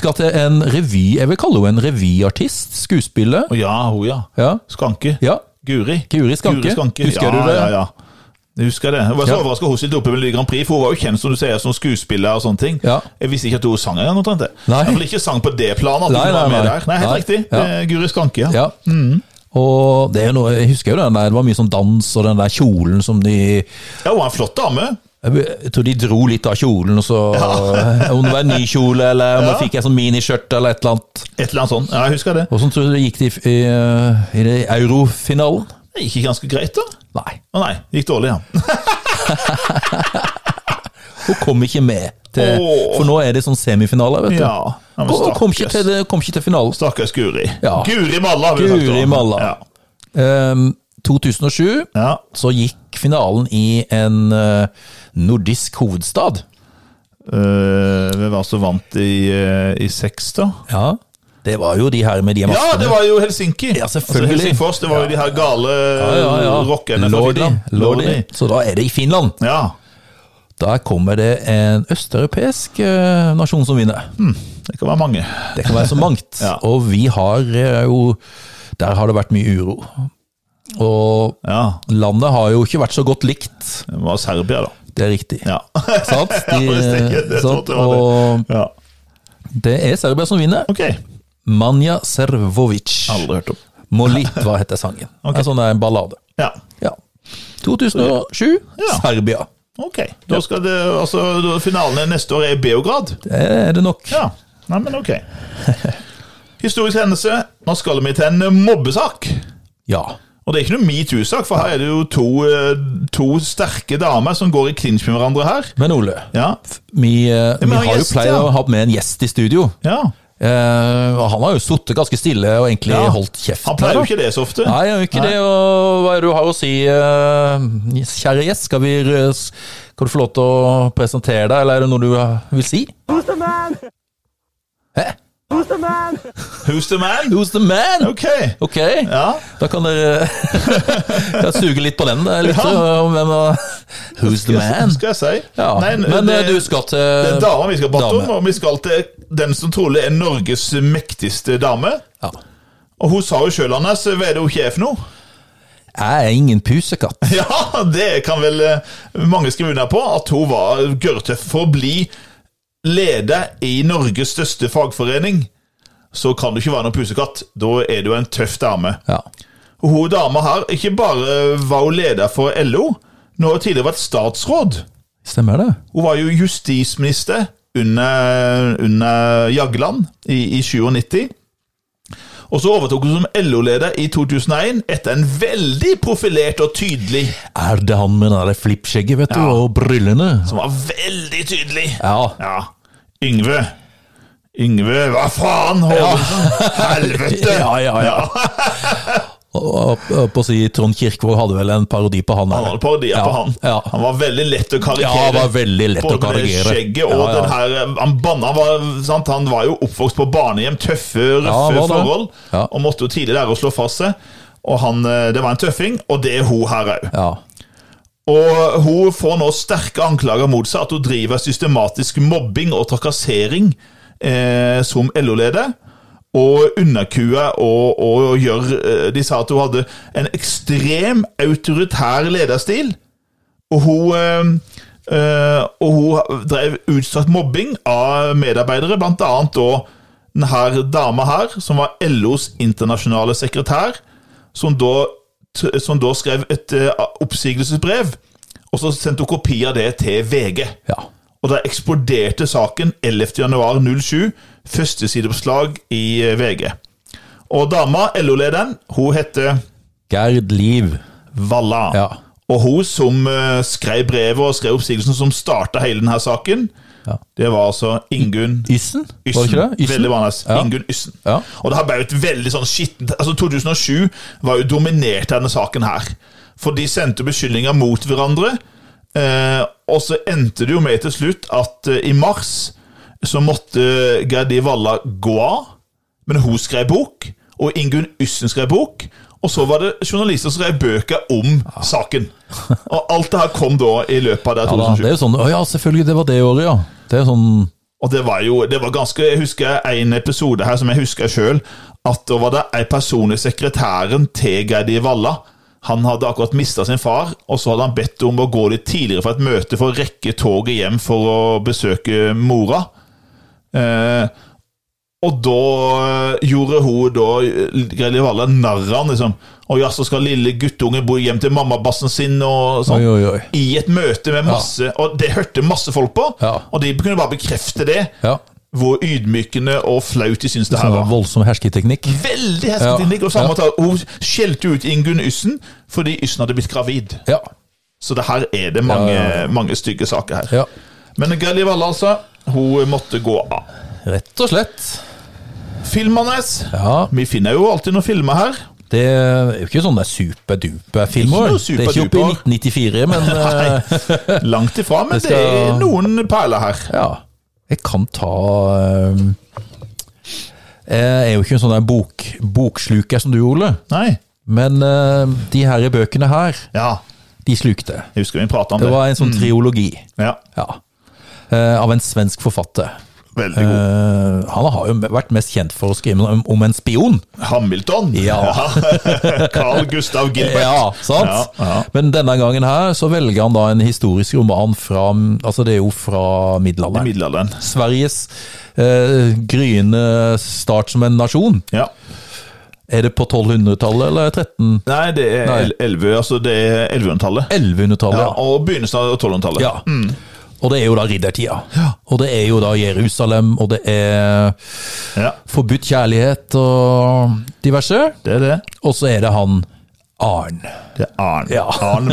A: Skal til en revy, jeg vil kalle henne en revyartist, skuespiller.
B: Å ja, hun, ja.
A: Ja,
B: Skanke.
A: ja,
B: Guri.
A: Guri Skanke. Husker
B: ja,
A: du det?
B: Ja, ja. Jeg husker det. Jeg var så
A: Ja.
B: overrasket overraska hun stilte opp i Melodi Grand Prix, for hun var jo kjent som du sier, som skuespiller og sånne ting.
A: Ja.
B: Jeg visste ikke at hun sang engang. omtrent det.
A: Nei.
B: Iallfall ikke sang på det planet. at
A: Nei,
B: hun var
A: nei,
B: med
A: nei.
B: der. Nei, helt
A: Nei.
B: riktig.
A: Ja.
B: Eh, Guri Skanke, ja.
A: ja.
B: Mm.
A: Og det er jo noe, jeg husker jo den der, det var mye sånn dans og den der kjolen som de
B: Ja, Hun var en flott dame.
A: Jeg tror de dro litt av kjolen, og så Om det var en ny kjole, eller om jeg fikk en sånn miniskjørt eller et eller annet.
B: Et eller annet sånt. Ja, jeg husker det.
A: Og sånn tror jeg det gikk til i, eh, i, det eurofinalen.
B: Det gikk ganske greit, da.
A: Nei,
B: Å nei, det gikk dårlig, ja.
A: hun kom ikke med. Til,
B: Åh.
A: For nå er det sånn semifinale, vet du.
B: ja. ja men
A: Kom, kom, ikke til,
B: stakkars-
A: det- kom ikke til finalen.
B: Stakkars Guri.
A: Ja.
B: Guri Malla. har vi sagt, da.
A: Guri Malla.
B: Ja.
A: Ehm, 2007
B: ja.
A: så gikk finalen i en eh, nordisk hovedstad.
B: Eh, hvem var det som vant i, eh, i seks, da?
A: Ja, det var jo de her med de
B: Ja, det
A: maskene.
B: var jo Helsinki.
A: Ja, selvfølgelig.
B: Altså, Helsingfors, det var jo de her gale eh, rockerne fra
A: Lordi,
B: Finland.
A: Lordi. Så da er det i Finland.
B: Ja.
A: Da kommer det en østeuropeisk eh, nasjon som vinner.
B: Det kan være mange.
A: Det kan være så mangt.
B: Ja.
A: Og vi har eh, jo Der har det vært mye uro. Og
B: Ja.
A: landet har jo ikke vært så godt likt.
B: Det var Serbia, da.
A: Det er riktig.
B: Ja.
A: Sant?
B: Ja, det stemmer. Det
A: sant?
B: trodde jeg var
A: Og
B: ja.
A: det er Serbia som vinner.
B: Ok.
A: Manja Servovic.
B: Aldri hørt om.
A: Molitva heter sangen. En sånn der ballade.
B: Ja.
A: Ja. 2007,
B: Ja.
A: Serbia.
B: Ok. Da skal det Altså, da, finalen neste år er Beograd.
A: Det er det nok.
B: Ja. Nei, men ok. Historisk hendelse. Nå skal vi til en mobbesak.
A: Ja.
B: Og det er ikke noe metoo-sak, for her er det jo to, eh, to sterke damer som går i clinch med hverandre her.
A: Men Ole,
B: Ja.
A: vi, eh, vi
B: men
A: har
B: har
A: jo
B: gjest,
A: pleid
B: ja.
A: å ha med en gjest i studio.
B: ja.
A: Eh, og han har jo sittet ganske stille og egentlig
B: Ja.
A: holdt kjeft.
B: Han pleier jo
A: her, da.
B: ikke det så ofte.
A: Nei, jeg gjør ikke det. Og hva er det du har å si, eh, kjære gjest? Skal, vi, eh, s- skal du få lov til å presentere deg, eller er det noe du eh, vil si?
C: Who's the man?
A: Hæ?
C: Who's the man?
B: Who's the man?
A: Who's the man?
B: Ok.
A: Ok,
B: Ja.
A: da kan dere kan suge litt på den. da, Litt,
B: Ja.
A: om hvem, eh, who's the man?
B: Skal jeg si.
A: Ja.
B: Nei,
A: Men
B: det,
A: eh, du skal
B: det
A: til
B: er dama vi skal prate om,
A: dame.
B: og vi skal til den som trolig er Norges mektigste dame.
A: ja.
B: Og hun sa jo sjøl, Anders, hva er det hun ikke er for noe?
A: Jeg er ingen pusekatt.
B: Ja, det kan vel eh, mange skrive under på, at hun var gørrtøff for å bli leder i Norges største fagforening. Så kan du ikke være noen pusekatt. Da er du en tøff dame.
A: Ja.
B: Og hun dama her, ikke bare var hun leder for LO, men hun har tidligere vært statsråd.
A: Stemmer det?
B: Hun var jo justisminister under, under Jagland i, i 97. Og så overtok hun som LO-leder i 2001 etter en veldig profilert og tydelig
A: Er det han med det flippskjegget, vet du, og brillene?
B: Som var veldig tydelig.
A: Ja.
B: Ja. Yngve. Yngve, hva faen? Håvard? Helvete!
A: Ja, ja, ja. Og, og, og på å si Trond Kirkvaag hadde vel en parodi på han.
B: Han
A: her.
B: hadde parodier
A: Ja,
B: på han.
A: ja.
B: Han var veldig lett å karikere.
A: Ja, han var veldig lett å
B: Både med
A: karikere.
B: skjegget og
A: Ja, ja.
B: den her eh, Han banna, han var, sant? Han var jo oppvokst på barnehjem, tøffe,
A: han
B: røffe
A: var det.
B: forhold,
A: Ja.
B: og måtte jo tidlig lære å slå fast seg. Og han, eh, Det var en tøffing, og det er hun her òg.
A: Ja.
B: Og hun får nå sterke anklager mot seg at hun driver systematisk mobbing og trakassering eh, som LO-leder. Og underkuer og, og, og gjør eh, De sa at hun hadde en ekstrem autoritær lederstil. Og hun, eh, eh, og hun drev utstrakt mobbing av medarbeidere, blant annet da denne dama her, som var LOs internasjonale sekretær, som da, t- som da skrev et eh, oppsigelsesbrev, og så sendte hun kopi av det til VG.
A: ja.
B: Og da eksploderte saken 11.11.07, førstesideoppslag i eh, VG. Og dama, LO-lederen, hun heter
A: Gerd Liv.
B: Valla.
A: Ja.
B: Og hun som eh, skrev brevet og skrev oppsigelsen, som starta hele denne saken,
A: Ja.
B: det var altså Ingunn
A: Yssen? Var det
B: Yssen.
A: ikke det? Yssen?
B: Veldig vanlig.
A: Ja.
B: Ingunn Yssen.
A: Ja.
B: Og det her ble jo et veldig sånn skittent Altså 2007 var jo dominert av denne saken her. For de sendte beskyldninger mot hverandre. Eh, og så endte det jo med til slutt at eh, i mars så måtte Gerdi Valla gå av. Men hun skrev bok, og Ingunn Yssen skrev bok. Og så var det journalister som skrev bøker om saken. Og alt det her kom da i løpet av det
A: Ja, da,
B: 2007.
A: det er jo sånn Å ja, selvfølgelig, det var det året, ja. Det er sånn
B: Og det var jo det var ganske Jeg husker en episode her som jeg husker sjøl. At da var det en person i sekretæren til Gerdi Valla. Han hadde akkurat mista sin far, og så hadde han bedt om å gå litt tidligere for et møte for å rekke toget hjem for å besøke mora. Eh, og da gjorde hun da Gerdi Valla narr av han, liksom. Å ja, så skal lille guttungen bo hjem til mammabassen sin, og sånn
A: Oi, oi, oi.
B: i et møte med masse Og det hørte masse folk på,
A: Ja.
B: og de kunne bare bekrefte det.
A: Ja.
B: Hvor ydmykende og flaut de syntes det her
A: Sånn
B: var.
A: voldsom hersketeknikk.
B: Veldig hesketeknikk. Og samme
A: Ja.
B: tal- Hun skjelte ut Ingunn Yssen fordi Yssen hadde blitt gravid.
A: Ja.
B: Så det her er det mange,
A: Ja,
B: mange stygge saker her.
A: ja.
B: Men Gerli Valle, altså. Hun måtte gå av.
A: Rett og slett.
B: Filmanes.
A: Ja.
B: Vi finner jo alltid noen filmer her.
A: Det er jo ikke sånn det er superduper filmer.
B: Ikke noe
A: Det er ikke oppe i
B: superduper.
A: 1994, men eh,
B: Langt ifra, men
A: skal-
B: det er noen perler her.
A: Ja. Jeg kan ta ehm, Jeg er jo ikke en sånn der bok, boksluker som du, Ole.
B: Nei.
A: Men ehm, de her bøkene her,
B: Ja,
A: de slukte.
B: jeg husker vi prata om
A: Det
B: det.
A: var en sånn triologi
B: Mm. Ja,
A: ja. Eh, av en svensk forfatter.
B: Veldig god.
A: Eh, han har jo vært mest kjent for å skrive om, om en spion.
B: Hamilton?
A: Ja.
B: Carl Gustav Gilbert.
A: Ja, sant?
B: Ja, ja.
A: Men denne gangen her så velger han da en historisk roman fra Altså det er jo fra
B: I
A: middelalderen.
B: middelalderen.
A: Sveriges eh, gryende start som en nasjon.
B: Ja.
A: Er det på 1200-tallet eller 13?
B: Nei, det er
A: Nei.
B: el- 11, altså det er 1100-tallet.
A: 1100-tallet,
B: Ja,
A: ja. mm.
B: og begynnelsen av 1200-tallet.
A: ja. Og det er jo da riddertida. Og det er jo da Jerusalem, og det er
B: Ja,
A: forbudt kjærlighet og diverse.
B: Det er det.
A: Og så er det han Arn.
B: Det er Arn.
A: Ja.
B: Arn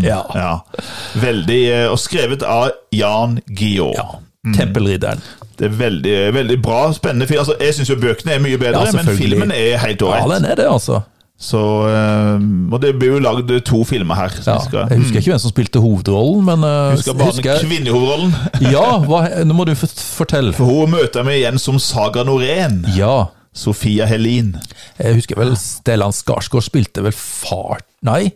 A: Ja.
B: Veldig, eh, Og skrevet av Jan Guillaud.
A: Mm. Tempelridderen.
B: Det er veldig, veldig bra, spennende film. Altså, jeg syns jo bøkene er mye bedre,
A: Ja,
B: men
A: selvfølgelig.
B: filmen er helt
A: Ja,
B: ålreit.
A: den er det, altså.
B: Så, eh, og det blir jo lagd to filmer her.
A: Ja.
B: Som vi skal,
A: Jeg husker ikke hvem som spilte hovedrollen, men eh,
B: husker bare
A: husker jeg-
B: den kvinnehovedrollen.
A: Ja, hva, nå må du fort- fortelle.
B: For hun møter vi igjen som Saga Norén.
A: Ja.
B: Sofia Helin.
A: Jeg husker vel Stellan Skarsgård spilte vel far... Nei,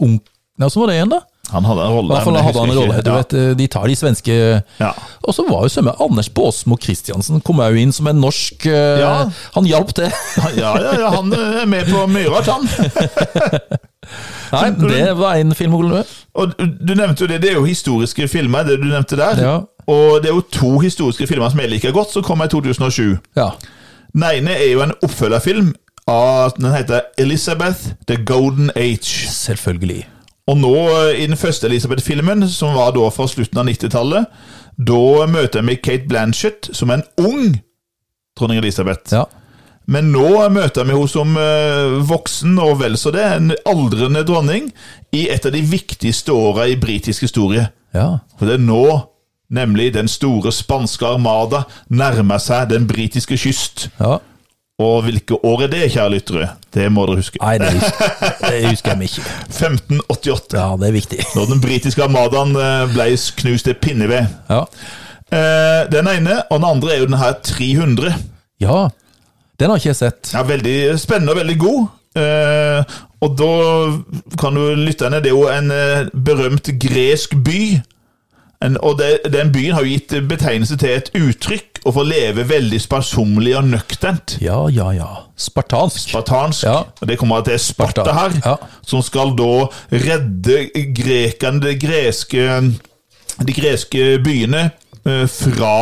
A: onk... Nei, Hvordan var det igjen, da?
B: Han hadde en rolle.
A: I hvert fall
B: men jeg
A: hadde han en
B: husker
A: rolle.
B: ikke.
A: Du
B: Ja.
A: vet, eh, de tar de svenske
B: Ja.
A: Og så var jo sømme Anders Baasmo Christiansen kom jo inn som en norsk eh,
B: Ja.
A: Han hjalp til.
B: Ja, ja, ja, han eh, er med på mye rart, han.
A: Nei, det var en film å glemme.
B: Og du nevnte jo det, det er jo historiske filmer, det du nevnte der.
A: Ja.
B: Og det er jo to historiske filmer som jeg liker godt, som kom i 2007.
A: Ja.
B: Den ene er jo en oppfølgerfilm av Den heter Elizabeth The Golden Age.
A: Selvfølgelig.
B: Og nå, eh, i den første Elizabeth-filmen, som var da fra slutten av 90-tallet, da møter vi Kate Blanchett som en ung dronning Elisabeth.
A: Ja.
B: Men nå møter vi henne som eh, voksen og vel så det, en aldrende dronning, i et av de viktigste åra i britisk historie.
A: ja.
B: For det er nå nemlig den store spanske armada nærmer seg den britiske kyst.
A: ja.
B: Og hvilke år er det, kjære lyttere? Det må dere huske.
A: Nei, det husker, det husker jeg ikke.
B: 1588.
A: Ja, det er viktig.
B: Når den britiske armadaen eh, ble knust til pinneved.
A: Ja.
B: Eh, Den ene, og den andre er jo den her 300.
A: ja. Den har ikke jeg sett.
B: Ja, veldig spennende og veldig god. Eh, Og da kan du lytte henne. Det er jo en eh, berømt gresk by. En, og det, den byen har jo gitt betegnelse til et uttrykk å få leve veldig sparsommelig og nøkternt.
A: Ja, ja, ja. Spartansk.
B: Spartansk.
A: Ja.
B: Og det kommer til Sparta
A: Sparta,
B: her,
A: ja.
B: som skal da redde grekerne, de greske, de greske byene, eh, fra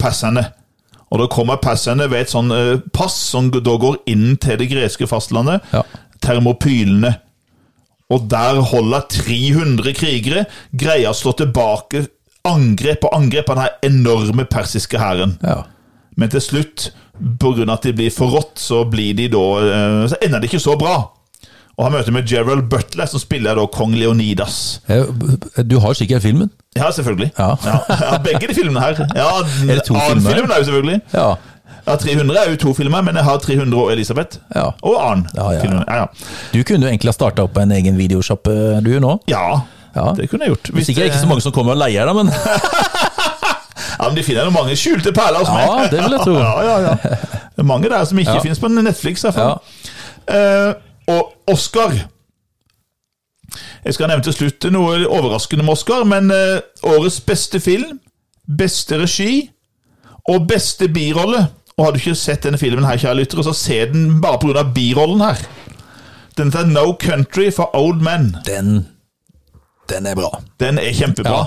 B: perserne. Og da kommer perserne ved et sånn eh, pass som da går inn til det greske fastlandet,
A: Ja.
B: termopylene. Og der holder 300 krigere greier å slå tilbake angrep og angrep av den her enorme persiske hæren.
A: Ja.
B: Men til slutt, pga. at de blir forrådt, så blir de da eh, Så ender det ikke så bra. Og har møte med Gerald Butler, som spiller da kong Leonidas.
A: Eh, Du har sikkert filmen?
B: Ja, selvfølgelig.
A: Ja.
B: ja, begge de filmene her. Ja,
A: Er det to
B: Annen
A: filmer?
B: filmen er jo selvfølgelig.
A: Ja.
B: Ja, 300 er jo to filmer, men jeg har 300 og Elisabeth.
A: Ja.
B: Og annen.
A: Ja, ja, ja.
B: filmen. Ja, ja.
A: Du kunne jo egentlig ha starta opp en egen videosjappe, du nå.
B: ja.
A: Ja.
B: Det kunne jeg gjort. Hvis
A: Sikkert ikke så mange som kommer og leier deg, men
B: Ja, men De finner jo mange skjulte perler hos meg.
A: ja, det vil jeg tro.
B: Ja, ja, ja. Det er mange der som ikke
A: Ja.
B: finnes på Netflix. i hvert
A: Ja.
B: fall. Eh, og Oscar Jeg skal nevne til slutt noe overraskende med Oscar, men eh, årets beste film, beste regi og beste birolle. Og Har du ikke sett denne filmen, her, kjære lyttere, så se den bare pga. birollen her. Den heter No Country for Old Men.
A: Den, den er bra.
B: Den er kjempebra.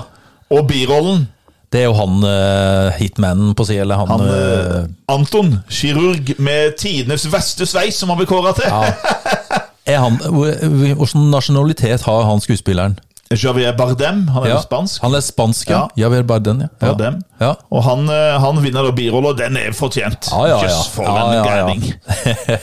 B: Og birollen
A: Det er jo han eh, hitmanen på si, eller han,
B: han,
A: eh,
B: eh, Anton, kirurg med tidenes verste sveis, som han blir kåra til.
A: Er han hvor- hvor- Hvilken nasjonalitet har han skuespilleren?
B: Javier Bardem, han er jo spansk.
A: Han er spansk, ja.
B: Ja.
A: ja vel, bare den, ja. ja.
B: Bardem.
A: Ja.
B: Og han, eh, han vinner da birolla, og den er fortjent.
A: Ja, ja, ja.
B: Jøss, for
A: Ja,
B: en
A: ja, ja.
B: gærning.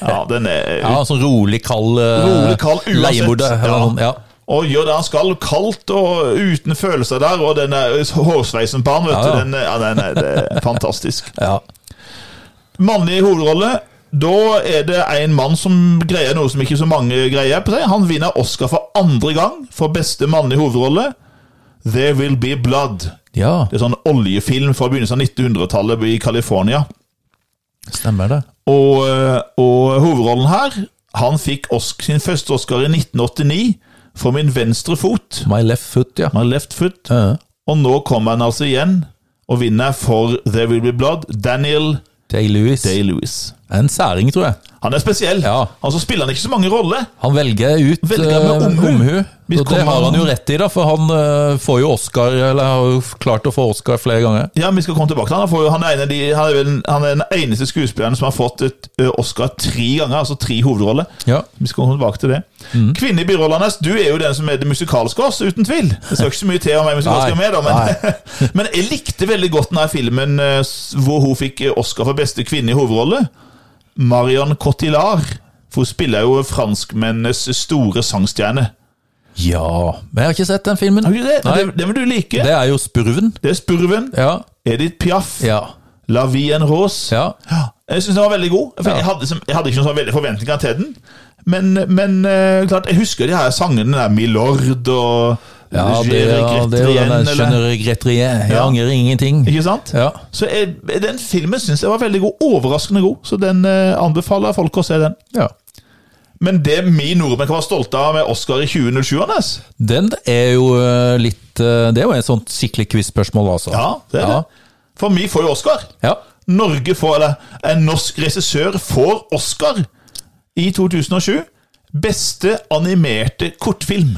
B: Ja, den er
A: ja, sånn rolig, kald eh,
B: rolig kald uansett.
A: leiemorder, eller noe, ja.
B: Og gjør det han skal, kaldt og uten følelser der. Og den der hårsveisen på han, vet
A: Ja, ja.
B: du, den, er- ja, den er, det er fantastisk.
A: Ja.
B: Mannlig hovedrolle. Da er det en mann som greier noe som ikke så mange greier. på seg. Han vinner Oscar for andre gang for beste mannlige hovedrolle. There Will Be Blood.
A: ja,
B: Det er sånn oljefilm fra begynnelsen av 1900-tallet i California.
A: stemmer det.
B: Og, eh, og hovedrollen her Han fikk Osc- sin første Oscar i 1989 for min venstre fot.
A: My left foot, ja.
B: My left foot.
A: Ja.
B: Og nå kommer han altså igjen og vinner for There Will Be Blood. Daniel
A: Day Lewis.
B: Day-Lewis.
A: En særing, tror jeg.
B: Han er spesiell.
A: Ja.
B: Altså spiller han ikke så mange roller.
A: Han velger ut
B: Velger med
A: eh,
B: omhu. Vi
A: Og det
B: kommer-
A: har han jo rett i, da, for han eh, får jo Oscar, eller har jo klart å få Oscar flere ganger.
B: Ja, vi skal komme tilbake til han. Han, får, jo- han, er en av de, han, er vel, han er den eneste skuespilleren som har fått et ø, Oscar tre ganger, altså tre hovedroller.
A: Ja.
B: Vi skal komme tilbake til det.
A: Mm.
B: Kvinne i birollen hans, du er jo den som er det musikalske oss, uten tvil. Det skal ikke så mye til om jeg er musikalsk
A: Nei,
B: med, da, men, men jeg likte veldig godt denne filmen ø, s- hvor hun fikk ø, Oscar for beste kvinne i hovedrolle. Marion Cotillard. For hun spiller jo franskmennenes store sangstjerne.
A: Ja, men jeg har ikke sett den filmen.
B: Har du ikke det?
A: Nei,
B: det? Det vil du like.
A: det er jo Spurven.
B: Det er Spurven.
A: Ja,
B: Edith Piaf.
A: ja,
B: La Vie en Rose.
A: ja.
B: Ja, Jeg syns den var veldig god. For
A: Ja.
B: jeg, hadde, som- jeg hadde ikke noen sånn veldig forventninger til den. Men, men eh, klart, jeg husker de her sangene der Milord og
A: Ja, det, ja, det er jo den
B: Gerigrette
A: der
B: igjen, eller-
A: skjønner Gretrier. Jeg
B: Ja.
A: angrer ingenting.
B: Ikke sant?
A: Ja,
B: Så jeg, den filmen syns jeg var veldig god. Overraskende god. Så den eh, anbefaler folk å se den.
A: ja.
B: Men det vi nordmenn kan være stolte av med Oscar i 2007, Anders
A: Den er jo eh, litt eh, Det er jo et sånt skikkelig quiz-spørsmål, altså.
B: Ja, det er
A: ja.
B: det. For vi får jo Oscar.
A: Ja.
B: Norge får, eller en norsk regissør får Oscar i 2007. Beste animerte kortfilm.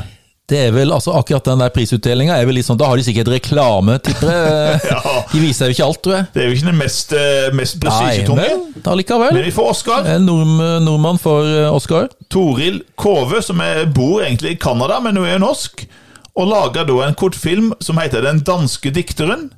A: Det er vel altså akkurat den der prisutdelinga er vel litt sånn Da har de sikkert reklame, tipper jeg.
B: Ja.
A: De viser jo ikke alt, tror jeg.
B: Det er jo ikke den mest, eh, mest
A: Nei,
B: prestisjetunge,
A: men allikevel.
B: men vi får Oscar.
A: En nordm- nordmann for eh, Oscar.
B: Toril Kove, som er, bor egentlig i Canada, men hun er norsk, og lager da en kortfilm som heter Den danske dikteren.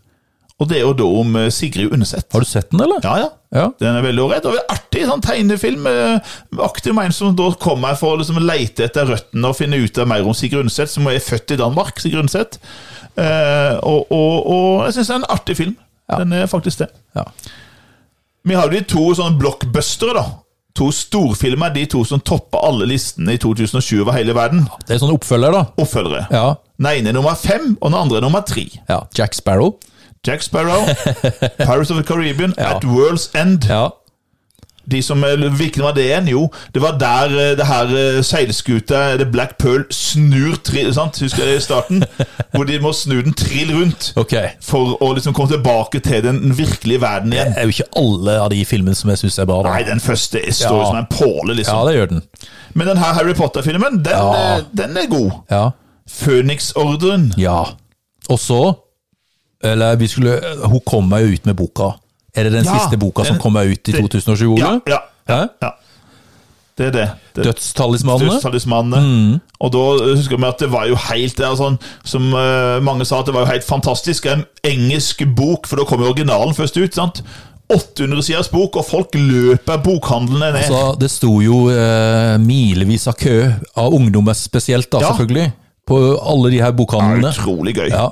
B: Og det er jo da om eh, Sigrid Undset.
A: Har du sett den, eller?
B: Ja, ja.
A: Ja.
B: Den er veldig ålreit. Og det er artig sånn tegnefilm. eh, Aktiv med en som da kommer her for å liksom lete etter røttene og finne ut av mer om Sigrid Undset, som er født i Danmark. Sigrid Undset. Eh, og, og, og jeg syns det er en artig film. Den er faktisk det.
A: Ja.
B: Vi har jo de to sånne blockbustere, da. To storfilmer, de to som toppa alle listene i 2020 over hele verden.
A: Det er sånn oppfølger, da.
B: Oppfølgere.
A: Ja.
B: Den ene er nummer fem, og den andre er nummer tre.
A: ja. Jack Sparrow.
B: Jack Sparrow, Pirates of the Caribbean,
A: Ja.
B: At World's End.
A: Ja.
B: De som, eller Hvilken var det igjen? Jo, det var der eh, det her eh, seilskuta The Black Pearl snur trill, sant? Husker jeg det i starten? Hvor de må snu den trill rundt
A: Ok. Det
B: for å liksom komme tilbake til den virkelige verden igjen.
A: er jo ikke alle av de filmene som jeg syns er bra. da.
B: Nei, den første står jo
A: Ja.
B: som en påle,
A: Ja,
B: liksom.
A: det gjør den.
B: Men den her Harry Potter-filmen, den,
A: Ja.
B: eh, den er god.
A: Ja.
B: Føniksordren.
A: ja. Og så Eller vi skulle Hun kom meg jo ut med boka. Er det den
B: Ja,
A: siste boka
B: den-
A: som kom meg ut i
B: det-
A: 2020?
B: Ja,
A: Ole?
B: ja,
A: Hæ?
B: ja. Det er det. det
A: Dødstalismanene?
B: Dødstalismanene.
A: Mm.
B: Og da eh, husker vi at det var jo helt det er sånn, Som eh, mange sa, at det var jo helt fantastisk. En engelsk bok, for da kom jo originalen først ut. sant? 800 siders bok, og folk løper bokhandlene ned.
A: Så det sto jo eh, milevis av kø av ungdommer spesielt, da,
B: Ja.
A: selvfølgelig. På alle de her bokhandlene.
B: Utrolig gøy.
A: Ja.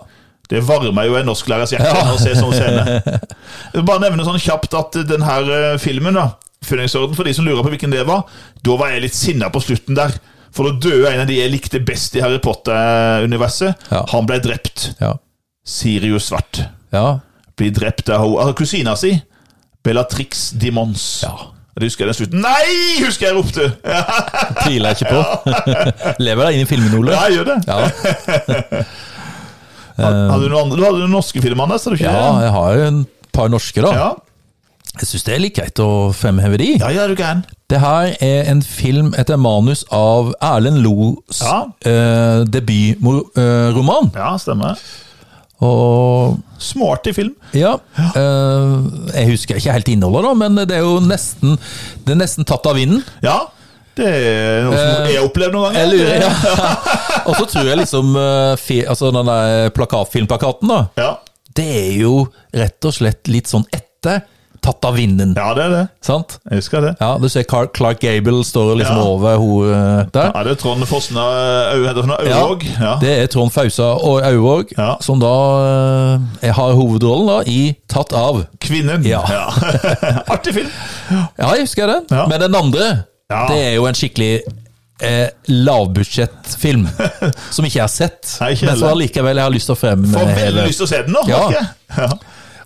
B: Det varmer jo en norsklærers hjerte å se sånn scene. Jeg vil bare nevne sånn kjapt at den her eh, filmen, da, Funningsorden, for de som lurer på hvilken det var, da var jeg litt sinna på slutten der. For da døde en av de jeg likte best i Harry Potter-universet.
A: Ja.
B: Han ble drept.
A: Ja.
B: Sirius Svart
A: ja.
B: blir drept av ho- altså, kusina si, Bellatrix de Mons.
A: Ja.
B: Det husker jeg den slutten. Nei, husker jeg ropte! Ja,
A: Tviler jeg ikke på. Lever deg inn i filmen, Ole.
B: jeg gjør det.
A: Ja.
B: Hadde du noen andre? Du hadde noen norske filmer, Anders? hadde du ikke
A: ja,
B: det?
A: jeg har jo en par norske, da.
B: Ja.
A: Jeg syns det er litt greit å fremheve de.
B: ja, ja, er du gæren?
A: Det her er en film etter manus av Erlend Los
B: Ja.
A: eh, debutroman.
B: Ja, stemmer.
A: Og
B: Smart i film.
A: Ja. eh, jeg husker ikke helt innholdet, da, men det er jo nesten Det er nesten tatt av vinden.
B: Ja, det er noe som jeg har opplevd noen
A: Eh, Jeg
B: ganger.
A: lurer, ja. Og så tror jeg liksom eh, fi, altså den der plakat, filmplakaten, da.
B: Ja.
A: Det er jo rett og slett litt sånn etter tatt av vinden,
B: ja, det er det.
A: sant?
B: Jeg husker det.
A: Ja, du ser Car- Clark Gable står liksom
B: Ja.
A: over hun eh, der.
B: Ja, det er Trond Fossen og Au- heter han
A: Ja,
B: Aurvåg. Ja.
A: Det er Trond Fausa og Auvåg,
B: Ja.
A: som da eh, har hovedrollen da i Tatt av.
B: Kvinnen.
A: Ja.
B: Artig film.
A: Ja, jeg husker den.
B: Ja.
A: Men den andre,
B: Ja.
A: det er jo en skikkelig eh, lavbudsjettfilm. som ikke jeg har sett,
B: Nei, ikke
A: men som
B: heller.
A: allikevel jeg har lyst til å
B: Får veldig
A: fremheve.
B: lyst til å se den nå.
A: eh, Ja.
B: merker jeg. Ja.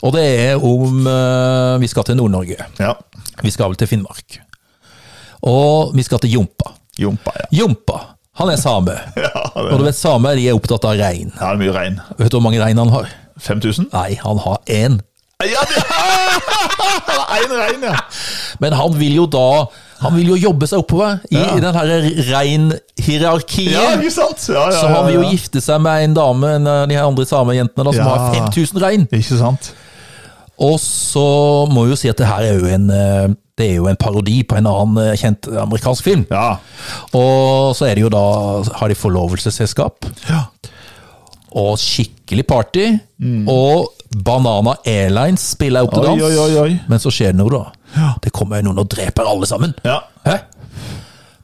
A: Og det er om eh, Vi skal til Nord-Norge.
B: ja.
A: Vi skal vel til Finnmark. Og vi skal til Jompa.
B: Jompa, ja.
A: Jompa, han er same.
B: Ja, det
A: Og du vet, samer de er opptatt av rein.
B: ja, det er mye regn.
A: Vet du hvor mange rein han har?
B: 5000?
A: Nei, han har én.
B: Ja, det Én rein, ja.
A: Men han vil jo da Han vil jo jobbe seg oppover i,
B: Ja.
A: i den her reinhierarkien.
B: Ja, ikke sant? Ja, ja,
A: Så han vil jo
B: ja, ja.
A: gifte seg med en dame, en av de her andre samejentene, da, som
B: Ja.
A: har 5000 rein.
B: Ikke sant?
A: Og så må vi jo si at det her er jo en eh, Det er jo en parodi på en annen eh, kjent amerikansk film.
B: Ja.
A: Og så er det jo da Har de forlovelsesselskap
B: ja.
A: og skikkelig party. Og Banana Airlines spiller opp til
B: Oi,
A: dans.
B: oi, oi, oi.
A: Men så skjer det noe, da. Det kommer jo noen og dreper alle sammen.
B: ja.
A: Hæ?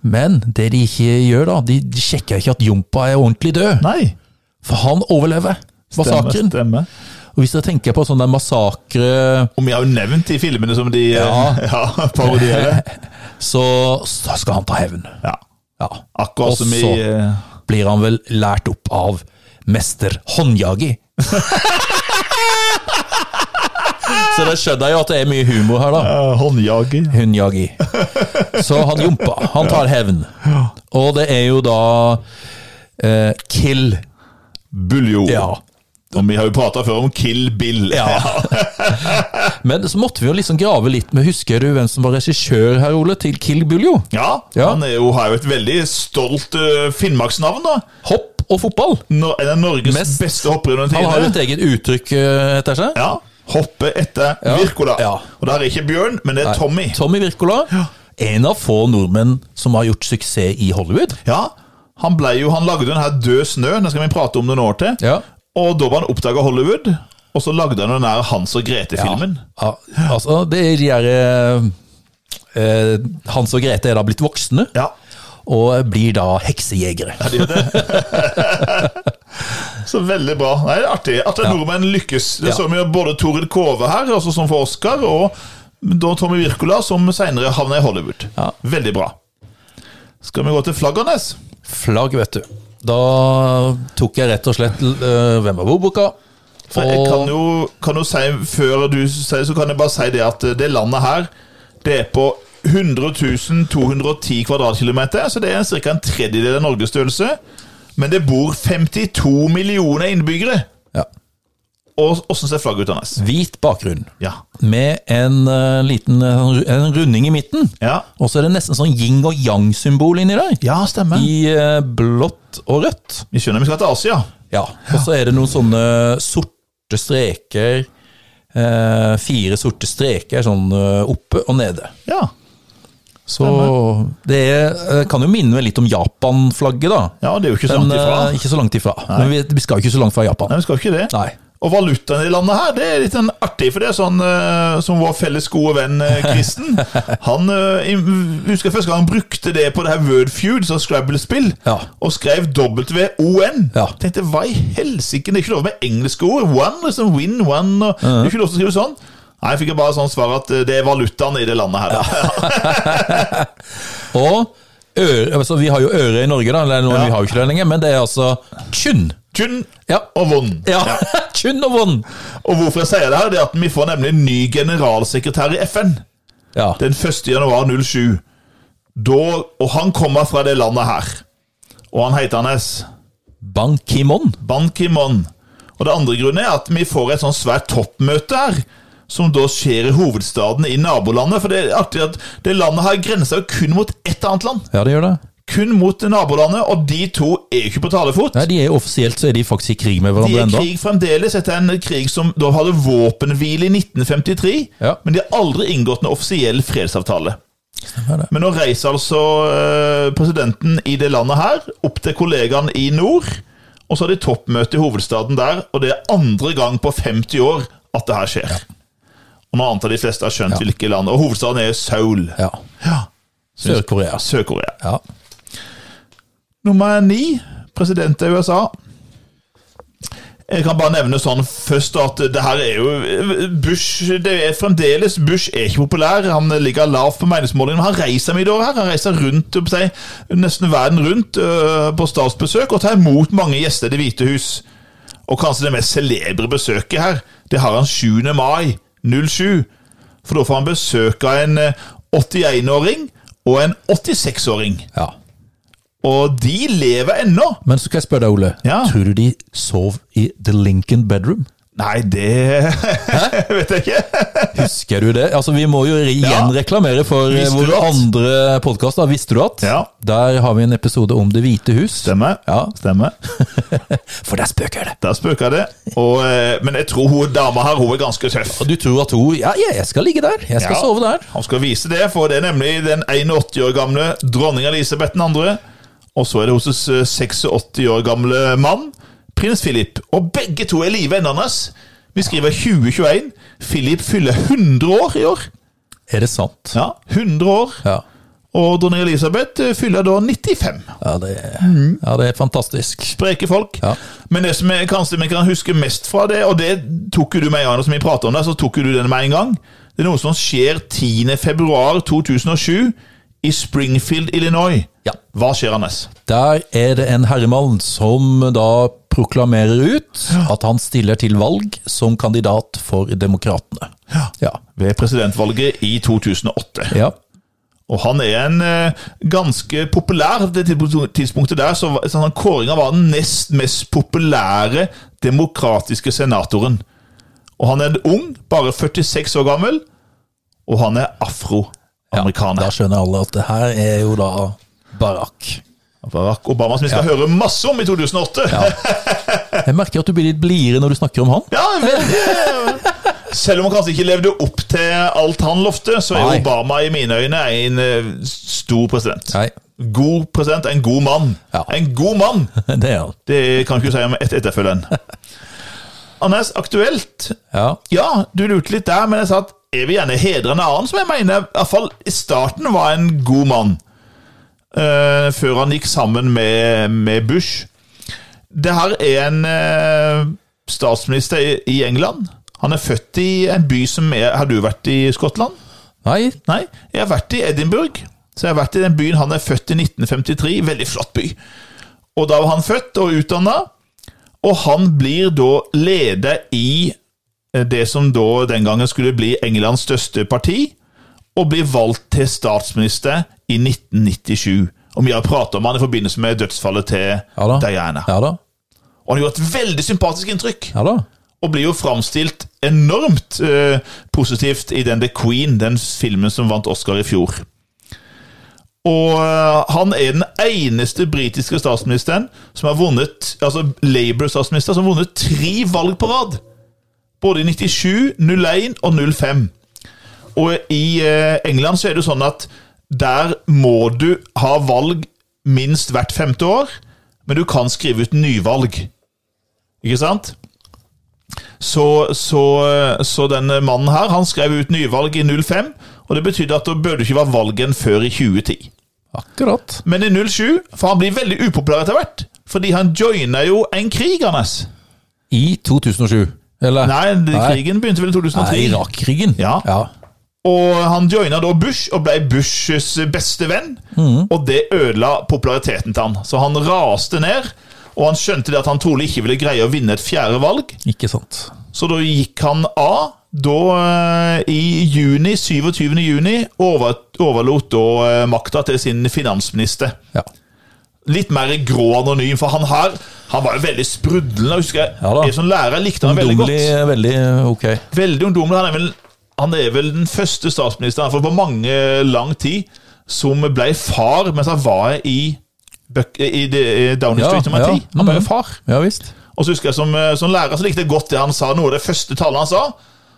A: Men det de ikke gjør, da De, de sjekker ikke at Jompa er ordentlig død.
B: Nei.
A: For han overlever massakren.
B: stemmer.
A: Og hvis dere tenker på sånn der massakre
B: Og vi har jo nevnt de filmene som de eh,
A: Ja.
B: ja parodierer.
A: så, så skal han ta hevn.
B: Ja.
A: Ja.
B: Akkurat
A: Og
B: som i
A: så-
B: eh,
A: Blir han vel lært opp av mester Håndjagi. så det skjønner jeg jo at det er mye humor her, da.
B: eh, Håndjager.
A: Hundjagi. Så han jompa. Han tar hevn. Og det er jo da eh, Kill.
B: Buljo.
A: Ja.
B: Og vi har jo prata før om Kill Bill.
A: Ja. Men så måtte vi jo liksom grave litt med Husker du hvem som var regissør her, Ole, til Kill Bill, jo?
B: Ja,
A: Ja.
B: Han er jo, har jo et veldig stolt eh, finnmarksnavn, da.
A: Hopp og fotball.
B: Nor en av Norges
A: Mest.
B: beste hoppere under
A: Han har jo
B: tidene.
A: et eget uttrykk eh, etter seg.
B: Ja, hoppe etter
A: Ja.
B: Wirkola.
A: Ja.
B: Og der er ikke Bjørn, men det er Tommy.
A: Tommy Wirkola. En av få nordmenn som har gjort suksess i Hollywood.
B: Ja, Han ble jo, han lagde den her Død snø, den skal vi prate om noen år til.
A: Ja.
B: Og da var han oppdaga Hollywood, og så lagde han den der Hans og Grete-filmen.
A: Ja, altså, det er de der eh, eh, Hans og Grete er da blitt voksne,
B: Ja.
A: og blir da heksejegere.
B: Så veldig bra. Nei, det er Artig at nordmenn lykkes. Det
A: Ja.
B: så vi jo både Toril Kove her, altså som for Oscar, og da Tommy Wirkola, som seinere havna i Hollywood.
A: Ja.
B: Veldig bra. Skal vi gå til Flaggernes?
A: Flagg, vet du. Da tok jeg rett og slett eh, Hvem var bordboka?
B: For jeg kan jo, kan jo si, før du sier, så kan jeg bare si det at eh, det landet her, det er på 100 210 kvadratkilometer, så det er ca. en tredjedel av Norges størrelse. Men det bor 52 millioner innbyggere.
A: ja,
B: Og åssen ser flagget ut, Anders?
A: Hvit bakgrunn
B: Ja.
A: med en eh, liten eh, en runding i midten.
B: Ja,
A: Og så er det nesten sånn yin og yang-symbol inni der.
B: ja stemmer.
A: I eh, blått og rødt.
B: Vi skjønner vi skal til Asia.
A: Ja, og så er det noen sånne sorte streker. Eh, fire sorte streker sånn eh, oppe og nede.
B: Ja.
A: Så det er, eh, kan jo minne meg litt om Japan-flagget, da.
B: ja, det er jo ikke så
A: Men
B: langt ifra.
A: eh, ikke så langt ifra. Men vi, vi skal jo ikke så langt fra Japan.
B: Nei, vi skal ikke det.
A: Nei.
B: Og valutaen i landet her, det er litt en artig, for det er sånn eh, som vår felles gode venn eh, Kristen. Han eh, i- husker jeg første gang han brukte det på det her Word Feud, så Scrabble-spill,
A: Ja.
B: og skrev WON.
A: Ja.
B: Tenkte hva i helsike, det er ikke lov med engelske ord. One, liksom win, one, og det
A: Mhm.
B: er ikke lov til å skrive sånn. Nei, jeg fikk jeg bare sånn svar at eh, det er valutaen i det landet her. da.
A: Og øre, altså, vi har jo øre i Norge, da. Eller noe,
B: Ja.
A: vi har jo ikke det lenger, men det er altså kun.
B: Kun
A: Ja.
B: og von.
A: ja. kun og von.
B: Og hvorfor jeg sier det her, det er at vi får nemlig en ny generalsekretær i FN.
A: Ja.
B: den 1. januar 07. Da, og han kommer fra det landet her. Og han heter hans
A: Ban Ki-mon.
B: Ban Ki-mon. Og det andre grunnen er at vi får et sånn svært toppmøte her. Som da skjer i hovedstaden i nabolandet. For det er artig at det landet her grenser jo kun mot ett annet land.
A: Ja, det gjør det.
B: Kun mot nabolandet, og de to er jo ikke på talefot.
A: Nei, de er Offisielt så er de faktisk i krig med
B: De
A: hverandre
B: er i
A: ennå.
B: krig fremdeles etter en krig som da hadde våpenhvile i 1953,
A: Ja.
B: men de har aldri inngått en offisiell fredsavtale.
A: det.
B: Men nå reiser altså eh, presidenten i det landet her opp til kollegaen i nord, og så har de toppmøte i hovedstaden der, og det er andre gang på 50 år at det her skjer. Og nå antar de fleste har skjønt hvilke land, og hovedstaden er Seoul,
A: Ja. Sør-Korea. altså.
B: Sør-Korea.
A: Ja.
B: Nummer ni, president i USA. Jeg kan bare nevne sånn først at det her er jo Bush det er fremdeles Bush er ikke populær. Han ligger lavt på meningsmålingene. men Han reiser mye i det året her. Han reiser rundt, opp seg, nesten verden rundt øh, på statsbesøk og tar imot mange gjester i Det hvite hus. Og kanskje det mest celebre besøket her, det har han 7. mai 07. For da får han besøk av en øh, 81-åring og en 86-åring.
A: ja.
B: Og de lever ennå.
A: Men så skal jeg spørre deg, Ole.
B: Ja.
A: Tror du de sov i The Lincoln Bedroom?
B: Nei, det vet jeg ikke.
A: Husker du det? Altså, Vi må jo re- igjen reklamere for eh,
B: Visste du
A: vår
B: at?
A: andre podkast, Visste du at?
B: Ja.
A: Der har vi en episode om Det hvite hus.
B: Stemmer.
A: Ja.
B: Stemmer.
A: For der spøker det!
B: Der spøker det. Og, eh, men jeg tror hun dama her hun er ganske tøff.
A: Og du tror at hun Ja, ja, jeg skal ligge der. Jeg skal
B: Ja.
A: sove der.
B: Han skal vise det, for det er nemlig den 81 år gamle dronning Elisabeth 2. Og så er det hos eh, 86 år gamle mann, prins Philip. Og begge to er i live ennå. hans. Vi skriver 2021. Philip fyller 100 år i år.
A: Er det sant?
B: Ja, 100 år.
A: Ja.
B: Og dronning Elisabeth eh, fyller da 95.
A: Ja, det, ja, det er fantastisk.
B: spreke folk.
A: Ja.
B: Men det som jeg kanskje vi kan huske mest fra det, og det tok jo du med en gang som vi pratet om det, så tok jo du den med en gang. Det er noe som skjer 10. februar 2007 i Springfield, Illinois.
A: Ja.
B: Hva skjer, Anders?
A: Der er det en herremann som da proklamerer ut at han stiller til valg som kandidat for Demokratene. Ja.
B: Ved presidentvalget i 2008.
A: ja.
B: Og han er en eh, ganske populær det tidspunktet- tidspunktet der, så, så han kåringa var den nest mest populære demokratiske senatoren. Og han er ung, bare 46 år gammel, og han er afroamerikaner.
A: Da skjønner alle at det her er jo da Barack.
B: Barack Obama, som vi skal høre masse om i 2008. Ja,
A: Jeg merker at du blir litt blidere når du snakker om han.
B: veldig. Selv om han kanskje ikke levde opp til alt han lovte, så er
A: Nei.
B: Obama i mine øyne en eh, stor president.
A: Nei,
B: God president, en god mann.
A: Ja.
B: En god mann!
A: det er han.
B: Det kan ikke du si om et etterfølgeren. Anders, aktuelt?
A: Ja.
B: Ja, du lurte litt der, men jeg sa at jeg vil gjerne hedre en annen som jeg mener i hvert fall i starten var en god mann. eh, før han gikk sammen med, med Bush. Det her er en eh, statsminister i, i England. Han er født i en by som er Har du vært i Skottland?
A: Nei,
B: Nei, jeg har vært i Edinburgh. Så jeg har vært i den byen han er født i 1953. Veldig flott by. Og da var han født og utdanna, og han blir da leder i eh, det som da den gangen skulle bli Englands største parti, og blir valgt til statsminister i 1997. Og vi har pratet om han i forbindelse med dødsfallet til
A: ja da.
B: Diana.
A: Ja da.
B: Og han har gjort et veldig sympatisk inntrykk
A: Ja da.
B: og blir jo framstilt enormt eh, positivt i den The Queen, den filmen som vant Oscar i fjor. Og eh, han er den eneste britiske statsministeren som har vunnet Altså Labour-statsminister som har vunnet tre valg på rad. Både i 97, 01 og 05. Og i eh, England så er det jo sånn at der må du ha valg minst hvert femte år, men du kan skrive ut nyvalg. Ikke sant? Så, så, så denne mannen her, han skrev ut nyvalg i 05, og det betydde at det burde ikke være valg igjen før i 2010.
A: Akkurat.
B: Men i 07, for han blir veldig upopulær etter hvert, fordi han joiner jo en krig, Anders.
A: I 2007. Eller?
B: Nei,
A: Nei.
B: krigen begynte vel i
A: Nei,
B: 2003.
A: Irak-krigen.
B: Ja.
A: ja.
B: Og han joina da Bush, og ble Bushs beste venn.
A: Mhm.
B: Og det ødela populariteten til han. Så han raste ned, og han skjønte det at han trolig ikke ville greie å vinne et fjerde valg.
A: Ikke sant.
B: Så da gikk han av. Da eh, i juni, 27. juni over, overlot da eh, makta til sin finansminister.
A: Ja.
B: Litt mer grå anonym, for han her Han var jo veldig sprudlende. husker jeg.
A: Ja da.
B: jeg som lærer likte han veldig
A: Ungdommelig
B: godt.
A: er veldig ok.
B: Veldig ungdommelig. Han er vel, han er vel den første statsministeren for på mange eh, lang tid som ble far mens han var i, Buck- i, i Downing
A: Ja,
B: Street nummer
A: ja.
B: 10. Han ble
A: Mhm.
B: jo far.
A: Ja visst.
B: Og så husker jeg som, eh, som lærer så likte jeg godt det han sa, noe av det første tallet han sa.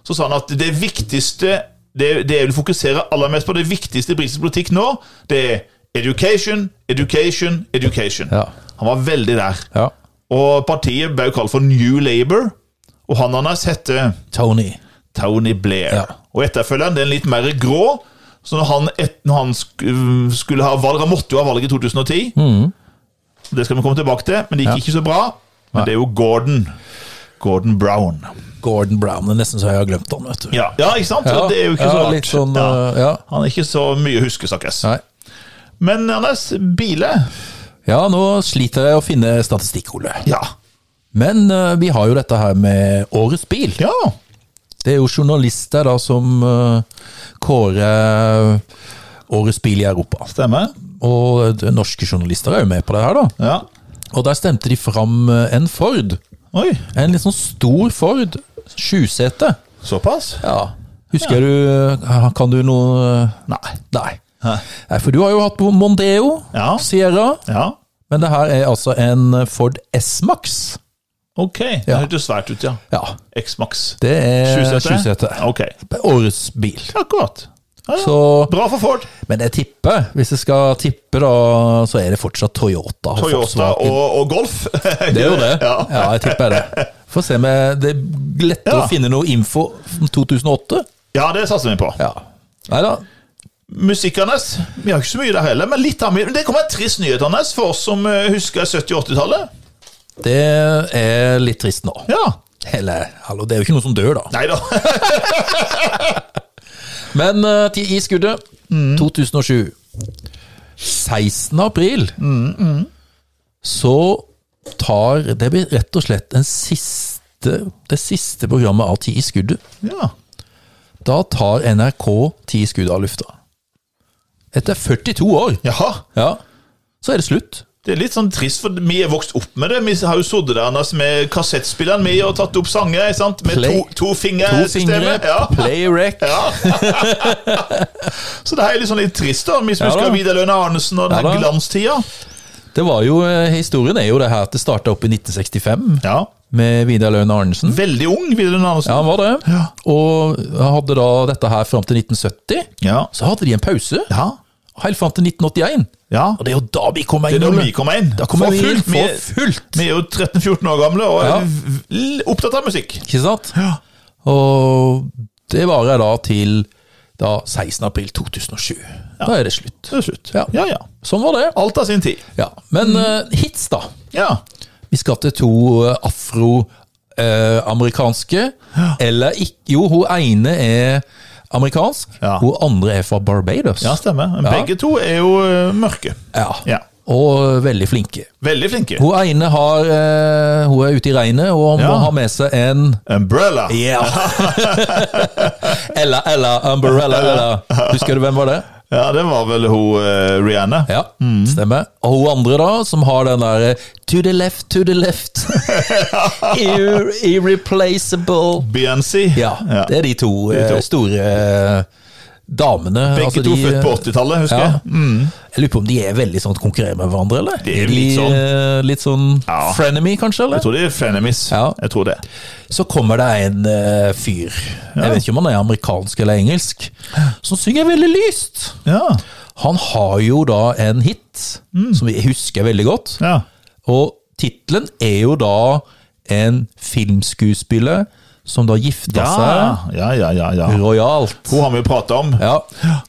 B: Så sa han at det viktigste, det, det jeg vil fokusere aller mest på, det viktigste i britisk politikk nå, det er education, education, education.
A: Ja.
B: Han var veldig der.
A: Ja.
B: Og partiet ble jo kalt for New Labour, og han hans heter
A: Tony.
B: Tony Blair.
A: Ja.
B: Og etterfølgeren det er litt mer grå. Så når han, et, når han sk øh, skulle ha valg Han måtte jo ha valg i 2010.
A: Mm.
B: Det skal vi komme tilbake til, men det gikk ikke så bra. Men det er jo Gordon. Gordon Brown.
A: Gordon Brown. Det er nesten så jeg har glemt han, vet du.
B: Ja, ja ikke sant?
A: Ja,
B: Det er jo ikke
A: ja,
B: så rart.
A: litt sånn,
B: ja.
A: øh, ja.
B: Han er ikke så mye å huske, stakkars.
A: Nei.
B: Men Anders, biler
A: Ja, nå sliter jeg å finne statistikk, Ole.
B: Ja.
A: Men eh, vi har jo dette her med årets bil.
B: ja.
A: Det er jo journalister da som eh, kårer årets bil i Europa.
B: Stemmer.
A: Og eh, norske journalister er jo med på det her, da.
B: Ja.
A: Og der stemte de fram eh, en Ford.
B: Oi,
A: En litt sånn stor Ford. Sjusete.
B: såpass?
A: Ja. Husker du eh, Kan du noe eh,
B: Nei.
A: Nei.
B: Hæ?
A: Nei, for du har jo hatt Mondeo,
B: Ja.
A: Sierra.
B: Ja,
A: Men det her er altså en Ford S-Max.
B: ok. Det
A: Ja. Eh,
B: hørtes svært ut, ja.
A: Ja.
B: X-Max.
A: Det er
B: Sjusete?
A: sjusete.
B: Ok,
A: Årets bil.
B: akkurat. Ja, ja.
A: Så,
B: Bra for Ford.
A: men jeg tipper, hvis jeg skal tippe, da, så er det fortsatt Toyota. og
B: Toyota
A: Volkswagen.
B: og, og Golf.
A: Det er jo det. Ja,
B: Ja.
A: jeg tipper det. Få se om jeg- det er lettere
B: Ja.
A: å finne noe info om 2008.
B: ja, det satser vi på.
A: Ja. Nei da.
B: Musikk, Anders. Vi har ikke så mye der heller, men litt av mye. Men Det kommer en trist nyhet, Anders, for oss som eh, husker 70- og 80-tallet.
A: Det er litt trist nå.
B: Ja.
A: Eller, hallo, det er jo ikke noen som dør, da.
B: Nei da.
A: Men eh, til i skuddet
B: Mm.
A: 2007. 16. april
B: Mm,
A: så tar Det blir rett og slett den siste, det siste programmet av Ti i skuddet.
B: Ja.
A: Da tar NRK Ti i skuddet av lufta. Etter 42 år
B: Jaha.
A: ja, så er det slutt.
B: Det er litt sånn trist, for vi er vokst opp med det. Vi har jo sittet der Anders, med kassettspilleren vi og tatt opp sanger ikke sant? med
A: Play.
B: to, to
A: To fingre,
B: fingersystemet. Eh, Ja.
A: play rec.
B: Så det her er litt sånn litt trist, da. Vi som
A: Ja,
B: husker
A: da.
B: Vidar Lønne Arnesen og den
A: Ja,
B: her
A: da.
B: glanstida.
A: Det var jo, eh, Historien er jo det her at det starta opp i 1965
B: Ja.
A: med Vidar Løen Arnesen.
B: Veldig ung, Vidar Lønne
A: Ja,
B: Arnesen.
A: han var det.
B: Ja.
A: Og hadde da dette her fram til 1970.
B: Ja.
A: Så hadde de en pause
B: Ja.
A: helt fram til 1981.
B: ja.
A: Og det er jo da vi kommer
B: Det
A: inn.
B: er da
A: Ole.
B: vi kommer inn.
A: Da kommer
B: For
A: vi inn
B: fullt.
A: for
B: Vi-
A: fullt.
B: Vi er jo 13-14 år gamle og
A: Ja.
B: er v- opptatt av musikk.
A: Ikke sant?
B: Ja.
A: Og det varer da til da 16. april 2007. Da er det slutt.
B: Det er slutt.
A: Ja.
B: ja, ja.
A: Sånn var det.
B: Alt av sin tid.
A: Ja. Men
B: Mm.
A: eh, hits, da.
B: Ja.
A: Vi skal til to eh, afroamerikanske. Eller ikke Jo, hun ene er amerikansk.
B: Ja.
A: Hun andre er fra Barbados.
B: ja, stemmer.
A: Ja.
B: Men Begge to er jo eh, mørke.
A: Ja.
B: Ja.
A: Og eh, veldig flinke.
B: Veldig flinke.
A: Hun ene har, eh, hun er ute i regnet og må
B: Ja.
A: ha med seg en
B: Umbrella.
A: eller, eller Umbrella, eller Husker du hvem var det?
B: Ja, det var vel hun eh, Rihanna.
A: Ja,
B: Mm.
A: stemmer. Og hun andre, da, som har den derre To the left, to the left. Irre- Irreplaceable.
B: Beyoncé.
A: Ja, det er de to,
B: De to.
A: eh, store eh, damene.
B: Begge
A: altså
B: to
A: de,
B: født på 80-tallet, husker
A: ja.
B: jeg. Mm.
A: Jeg lurer på om de er veldig sånn konkurrerer med hverandre, eller?
B: Det er
A: de,
B: litt sånn.
A: eh, litt sånn
B: Ja.
A: frenemy, kanskje? eller?
B: Jeg tror det er Frenemies.
A: Ja.
B: Jeg tror det.
A: så kommer det en eh, fyr, jeg vet ikke om han er amerikansk eller engelsk, som synger veldig lyst.
B: Ja.
A: Han har jo da en hit, som jeg husker veldig godt,
B: Mm. ja.
A: og titlen er jo da en filmskuespiller som da gifta
B: Ja, ja, ja, ja, ja.
A: seg royalt.
B: Hun har vi jo prata om.
A: Ja.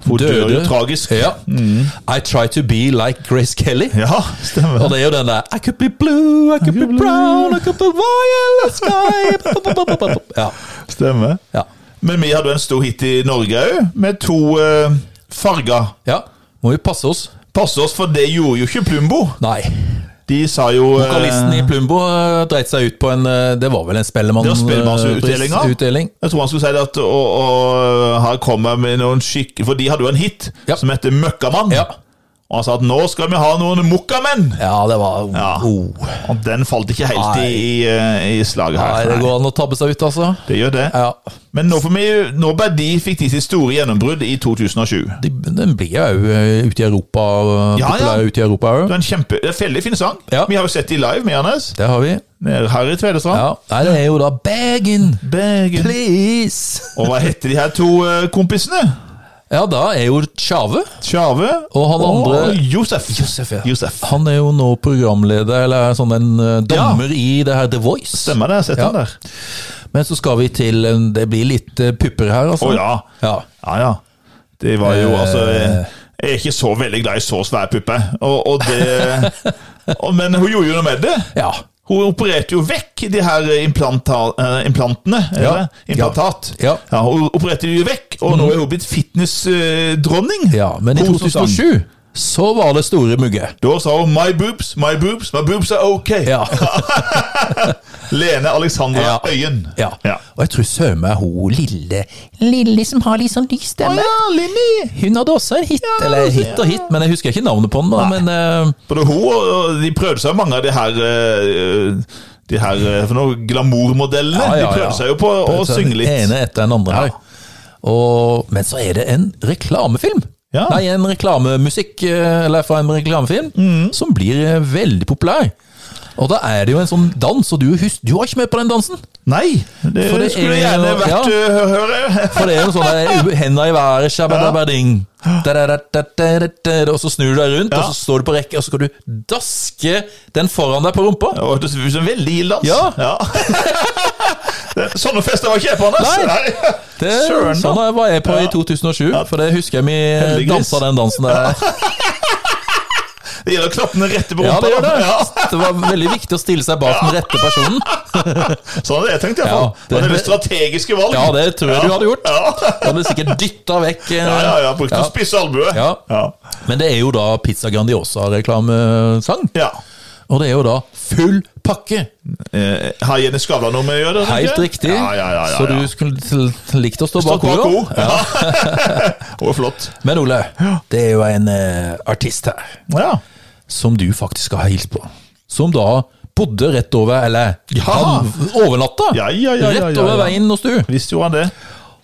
B: Hun dør jo tragisk. Mm.
A: Ja. I try to be like Grace Kelly.
B: Ja, stemmer.
A: Og det er jo den der I could be blue, I could be brown, I could be violet sky Ja,
B: stemmer.
A: ja.
B: Men vi hadde jo en stor hit i Norge òg, med to eh, farger.
A: Ja, må vi passe oss.
B: Passe oss, for det gjorde jo ikke Plumbo.
A: Nei.
B: De sa jo eh,
A: Vokalisten i Plumbo eh, dreit seg ut på en eh, Det var vel en spellemann...
B: Det var Spellemannsutdelinga.
A: eh, utdeling.
B: Jeg tror han skulle si det at å, å, her kommer med noen skikk... For de hadde jo en hit
A: Ja.
B: som heter Møkkamann.
A: Ja.
B: Og han sa at nå skal vi ha noen mokkamenn!
A: ja, det var
B: Ja.
A: oh.
B: Og den falt ikke helt i,
A: Nei.
B: i, eh, i slaget
A: Nei,
B: her.
A: det går an å tabbe seg ut, altså.
B: Det gjør det.
A: Ja.
B: Men nå, får vi, nå ble de fikk de sitt store gjennombrudd i 2007.
A: De- Den blir jo eh, ute i Europa, eh,
B: Ja, ja.
A: populær ute i Europa
B: Det
A: òg.
B: er en kjempe, det er en veldig fin sang.
A: Ja.
B: Vi har jo sett de live, vi, Anders.
A: Det har vi.
B: Nede Her i Tvedestrand.
A: Ja. Nei, det er jo da Bagen,
B: Bergen.
A: please!
B: Og hva heter de her to eh, kompisene?
A: Ja, da er jo Tjave
B: Tjave
A: Og han andre-
B: Josef.
A: Josef, ja.
B: Josef.
A: Han er jo nå programleder, eller sånn en eh, dommer i det her The Voice.
B: Stemmer det, jeg har sett
A: Ja.
B: han der.
A: Men så skal vi til en- Det blir litt eh, pupper her, altså.
B: Å ja.
A: Ja.
B: Ja ja. Det var jo
A: Eh.
B: altså eh, Jeg er ikke så veldig glad i så svære pupper, og, og det og, Men hun gjorde jo noe med det.
A: Ja.
B: Hun opererte jo vekk de her implanta, eh, implantene.
A: Ja.
B: Eller? Implantat.
A: Ja.
B: Hun opererte de jo vekk, og nå er hun blitt fitnessdronning.
A: ja. Men i
B: Hun som sang.
A: 2007 så var det store mugge.
B: Da sa hun 'my boobs, my boobs, my boobs are ok'.
A: Ja.
B: Lene Alexandra
A: Ja.
B: Øyen.
A: ja.
B: ja.
A: Og jeg tror søren meg hun lille Lille som har litt sånn lys
B: Å
A: stemme.
B: ja, Linni!
A: Hun hadde også en hit, eller hit og hit, men jeg husker ikke navnet på den. da, men eh,
B: Både hun og og de prøvde seg mange av de her eh, De her eh, for noe, glamourmodellene.
A: ja, ja,
B: De prøvde
A: ja.
B: seg jo på å
A: Prøvde seg
B: synge litt.
A: Den ene etter den andre her. Og, men så er det en reklamefilm.
B: Ja.
A: Nei, en reklamemusikk, eh, eller fra en reklamefilm,
B: Mm.
A: som blir eh, veldig populær. Og da er det jo en sånn dans, og du, hus- du var ikke med på den dansen?
B: Nei, det,
A: For det
B: skulle
A: er
B: gjerne
A: jo-
B: vært ja. høre.
A: For det er jo sånn der, henda i været, shabadabading. Da-da-da-da-da-da-da, Og så snur du deg rundt, og så står du på rekke, og så skal du daske den foran deg på rumpa.
B: Det hørtes ut som en veldig gild dans.
A: Ja.
B: Det- Sånne fester var ikke jeg på, Anders.
A: Nei. Det,
B: Søren, da.
A: sånn var jeg på i 2007, for det husker jeg vi eh,
B: Heldiggris.
A: dansa den dansen der.
B: Det gjelder knappene rette på
A: Ja,
B: rumpa.
A: det gjør det.
B: da.
A: Det var veldig viktig å stille seg bak den rette personen.
B: Ja, sånn hadde jeg tenkt,
A: Ja,
B: iallfall.
A: det-
B: det var veldig strategiske valg.
A: Ja, det tror jeg du hadde gjort.
B: Ja.
A: Du hadde sikkert dytta vekk eh,
B: Ja, ja, ja. Brukte å spisse albue.
A: Ja.
B: Ja.
A: Men det er jo da Pizza Grandiosa-reklamesang.
B: Ja.
A: Og det er jo da full pakke!
B: Eh, har Jenny Skavlan noe med å gjøre? tenker jeg?
A: Helt riktig.
B: Ja, ja, ja, ja,
A: Så
B: ja.
A: du skulle til- likt å stå
B: Stått
A: bak
B: bak
A: henne.
B: henne. Hun er flott.
A: Men Ole, det er jo en eh, artist her
B: Ja.
A: som du faktisk har hilst på. Som da bodde rett over, eller
B: Ja.
A: han overnatta
B: Ja, ja, ja, ja,
A: rett
B: ja,
A: over
B: ja.
A: veien hos du.
B: Visst gjorde han det.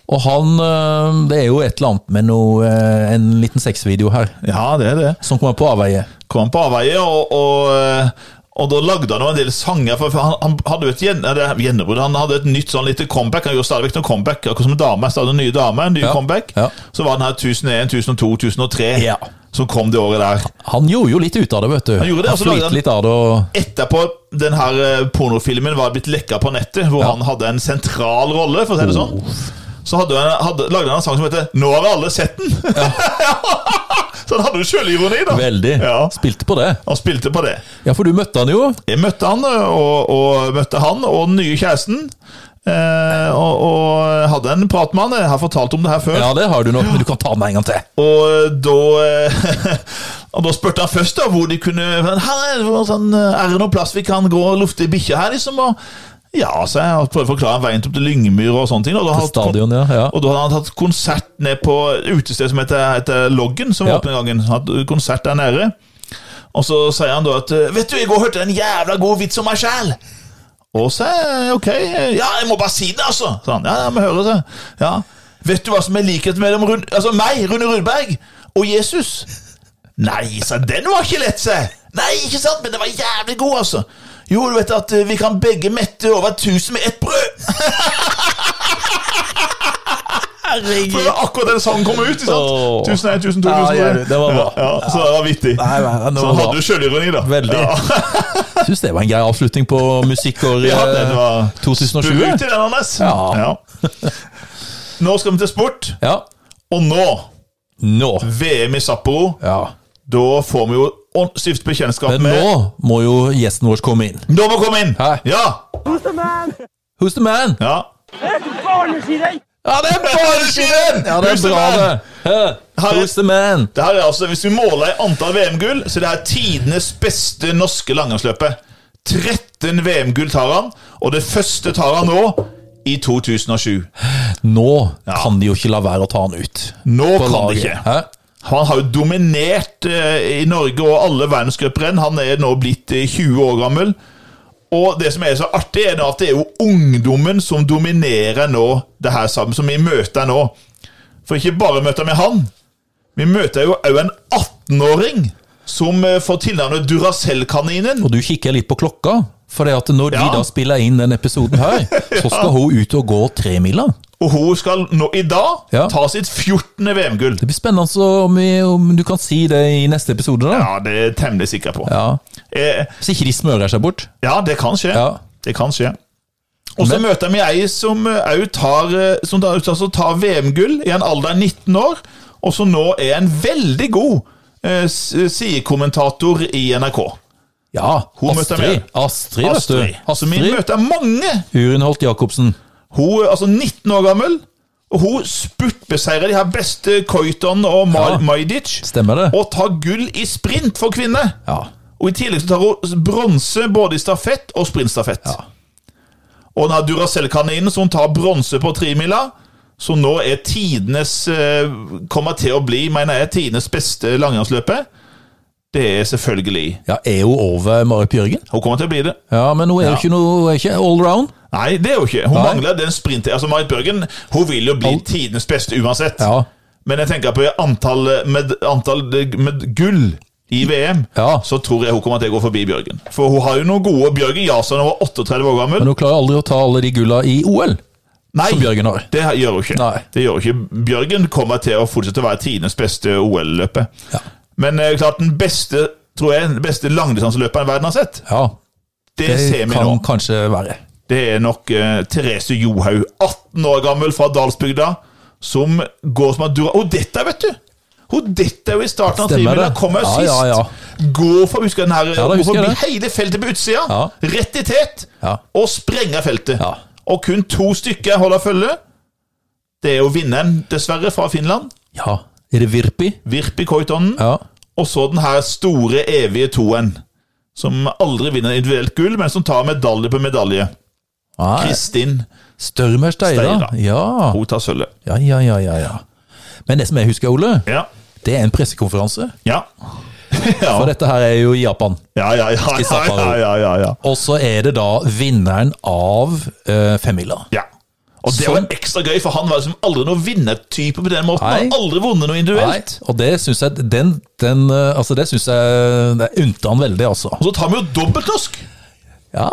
A: Og han eh, Det er jo et eller annet med noe, eh, en liten sexvideo her
B: Ja, det er det.
A: som kommer på avveie.
B: Kom han på avveie, og, og, eh, og da lagde han jo en del sanger. For for han, han hadde jo et gjen, eller, gjennombrudd. Han hadde et nytt sånn lite comeback. Han gjorde stadig vekk noen comeback. Akkurat som dame. Stadig nye dame, en ny
A: Ja,
B: comeback.
A: ja.
B: Så var den her 1001, 1002, 1003
A: Ja.
B: som kom det året der.
A: Han gjorde jo litt ut av det, vet du.
B: Han gjorde det,
A: han
B: og så lagde
A: sliter
B: han-
A: litt av det og
B: Etterpå den her eh, pornofilmen var blitt lekka på nettet, hvor han hadde en sentral rolle, for å si det sånn, så hadde han, hadde, lagde han en sang som heter 'Nå har alle sett den'. så han hadde jo sjølironi, da.
A: Veldig.
B: Ja,
A: Spilte på det.
B: Han spilte på det.
A: Ja, for du møtte han jo.
B: Jeg møtte han, eh, og, og møtte han og den nye kjæresten. Eh, og, og hadde en prat med han. Jeg har fortalt om det her før.
A: Ja, det har du nok, men du kan ta den en gang til.
B: Og da eh, Og da spurte han først da hvor de kunne her er, det noe sånn, er det noen plass vi kan gå og lufte bikkja her, liksom? Og, ja, så jeg prøvde å forklare han veien opp til Lyngmyr og sånne ting. Og da, hadde-
A: Stadion, ja. ja.
B: og da hadde han tatt konsert ned på et utested som heter, heter Loggen, som
A: Ja.
B: var åpnet en gangen. Han hadde konsert der nede. Og så sier han da at Vet du, i går hørte jeg en jævla god vits om meg sjæl. Og så er jeg, ok, ja, jeg må bare si det, altså. sa han. ja, ja, vi hører det. Ja. Vet du hva som er likheten mellom Rune, altså meg, Rune Rudberg, og Jesus? Nei, sa han, den var ikke lett, sa jeg. Nei, ikke sant, men den var jævlig god, altså. Jo, du vet at eh, vi kan begge mette over tusen med ett brød. For det var akkurat den sangen kom ut,
A: Åh.
B: ikke sant? Tusen nei, tusen to,
A: Ja,
B: tusen
A: gjør
B: nei.
A: du. Det var bra.
B: Ja, ja, så det var vittig.
A: Nei, nei, nei, det
B: så
A: var
B: han
A: bra.
B: hadde jo sjølironi, da.
A: Veldig.
B: Ja.
A: Syns det var en grei avslutning på eh, musikkåret
B: Ja, den var-
A: 2020.
B: Ut i den, Anders.
A: Ja.
B: Nå skal vi til sport,
A: Ja.
B: og nå
A: Nå.
B: VM i Sapporo.
A: Ja.
B: Da får vi jo ånd- stift bekjentskap
A: Men
B: med
A: nå må jo gjesten vår komme inn.
B: Nå må vi komme inn!
A: Hæ?
B: Ja!
A: Who's the man?
B: ja.
A: Ja, det er Borgen! Ja, det er
B: Who's the
A: bra,
B: man?
A: det. Hæ?
B: Har-
A: Who's the man?
B: Det her er altså, Hvis vi måler i antall VM-gull, så det er tidenes beste norske langrennsløpet. 13 VM-gull tar han, og det første tar han nå, i 2007.
A: Nå
B: Ja.
A: kan de jo ikke la være å ta han ut.
B: Nå
A: på
B: kan det
A: laget.
B: ikke.
A: Hæ?
B: Han har jo dominert eh, i Norge og alle verdenscuprenn. Han er nå blitt eh, 20 år gammel. Og det som er så artig, er da at det er jo ungdommen som dominerer nå det her sammen, som vi møter nå. For ikke bare møter vi han. Vi møter jo òg en 18-åring som eh, får tilnavnet Duracell-kaninen.
A: Og du kikker litt på klokka, for det at når
B: Ja.
A: de da spiller inn den episoden her, så skal hun ut og gå tremila.
B: Og hun skal nå i dag
A: Ja.
B: ta sitt 14. VM-gull.
A: Det blir spennende så om, vi, om du kan si det i neste episode, da.
B: Ja, det er jeg temmelig sikker på.
A: Ja.
B: Eh,
A: Hvis ikke de smører seg bort.
B: Ja, det kan skje.
A: Ja.
B: Det kan skje. Og så
A: Men-
B: møter vi ei som òg tar, eh, som da- altså tar VM-gull i en alder av 19 år, og som nå er en veldig god eh, s- sidekommentator i NRK.
A: Ja,
B: Hun møtte
A: Astrid.
B: meg.
A: Astrid, vet du.
B: Altså, vi
A: Astrid
B: møter mange!
A: Urenholt Jacobsen.
B: Hun er altså 19 år gammel, og hun spurtbeseirer de her beste Koiton og
A: Ja.
B: Mar Majdic.
A: Stemmer det?
B: Og tar gull i sprint for kvinner.
A: Ja.
B: Og i tillegg så tar hun bronse både i stafett og sprintstafett. Og den her Duracell-kaninen som tar bronse på tremila, som nå er tidenes eh, Kommer til å bli, mener jeg, tidenes beste langrennsløper. Det er selvfølgelig
A: ja er hun over Marit Bjørgen?
B: Hun kommer til å bli det.
A: Ja, men hun er jo
B: Ja.
A: ikke noe hun er ikke allround.
B: Nei, det er hun ikke. Hun
A: Nei.
B: mangler den sprint... Altså, Marit Børgen hun vil jo bli tidenes beste uansett.
A: Ja.
B: Men jeg tenker på antall med, antall med gull i VM,
A: Ja.
B: så tror jeg hun kommer til å gå forbi Bjørgen. For hun har jo noen gode Bjørgen Jason, hun var 38 år gammel.
A: Men hun klarer aldri å ta alle de gulla i OL,
B: Nei,
A: som Bjørgen har.
B: det gjør hun ikke.
A: Nei.
B: Det gjør hun ikke. Bjørgen kommer til å fortsette å være tidenes beste OL-løper.
A: Ja.
B: Men eh, klart den beste tror jeg, den beste langdistanseløperen verden har sett,
A: Ja,
B: det,
A: det
B: ser vi
A: kan
B: nå.
A: kanskje være.
B: Det er nok eh, Therese Johaug, 18 år gammel fra Dalsbygda, som går som en dura... Og dette, vet du! Hun detter jo i starten av
A: Stemmer
B: trimila,
A: det.
B: kommer jo
A: Ja,
B: sist.
A: ja, ja.
B: Går for, husker jeg den her,
A: da
B: går
A: husker jeg
B: forbi
A: det.
B: hele feltet på utsida,
A: Ja.
B: rett i tet,
A: Ja.
B: og sprenger feltet.
A: Ja.
B: Og kun to stykker holder følge. Det er jo vinneren, dessverre, fra Finland.
A: Ja. Er det Virpi?
B: Virpi Koitonen.
A: Ja.
B: Og så den her store, evige toen. Som aldri vinner individuelt gull, men som tar medalje på medalje.
A: Nei,
B: Kristin,
A: Størmer Steira.
B: Steira.
A: Ja.
B: hun tar sølvet.
A: Ja, ja, ja, ja, ja. Men det som jeg husker, Ole,
B: Ja.
A: det er en pressekonferanse.
B: Ja. ja.
A: For dette her er jo i Japan.
B: Ja, ja, ja, ja, ja, ja, ja, ja.
A: Og så er det da vinneren av eh, femmila.
B: ja. Og det
A: Som-
B: var ekstra gøy, for han var liksom aldri noen vinnertype på den måten. Han
A: Nei.
B: har aldri vunnet noe
A: Nei,
B: individuelt.
A: og det syns jeg den, den, eh, Altså, det syns jeg Det unte han veldig, altså.
B: Og så tar vi jo dobbeltnorsk,
A: Ja.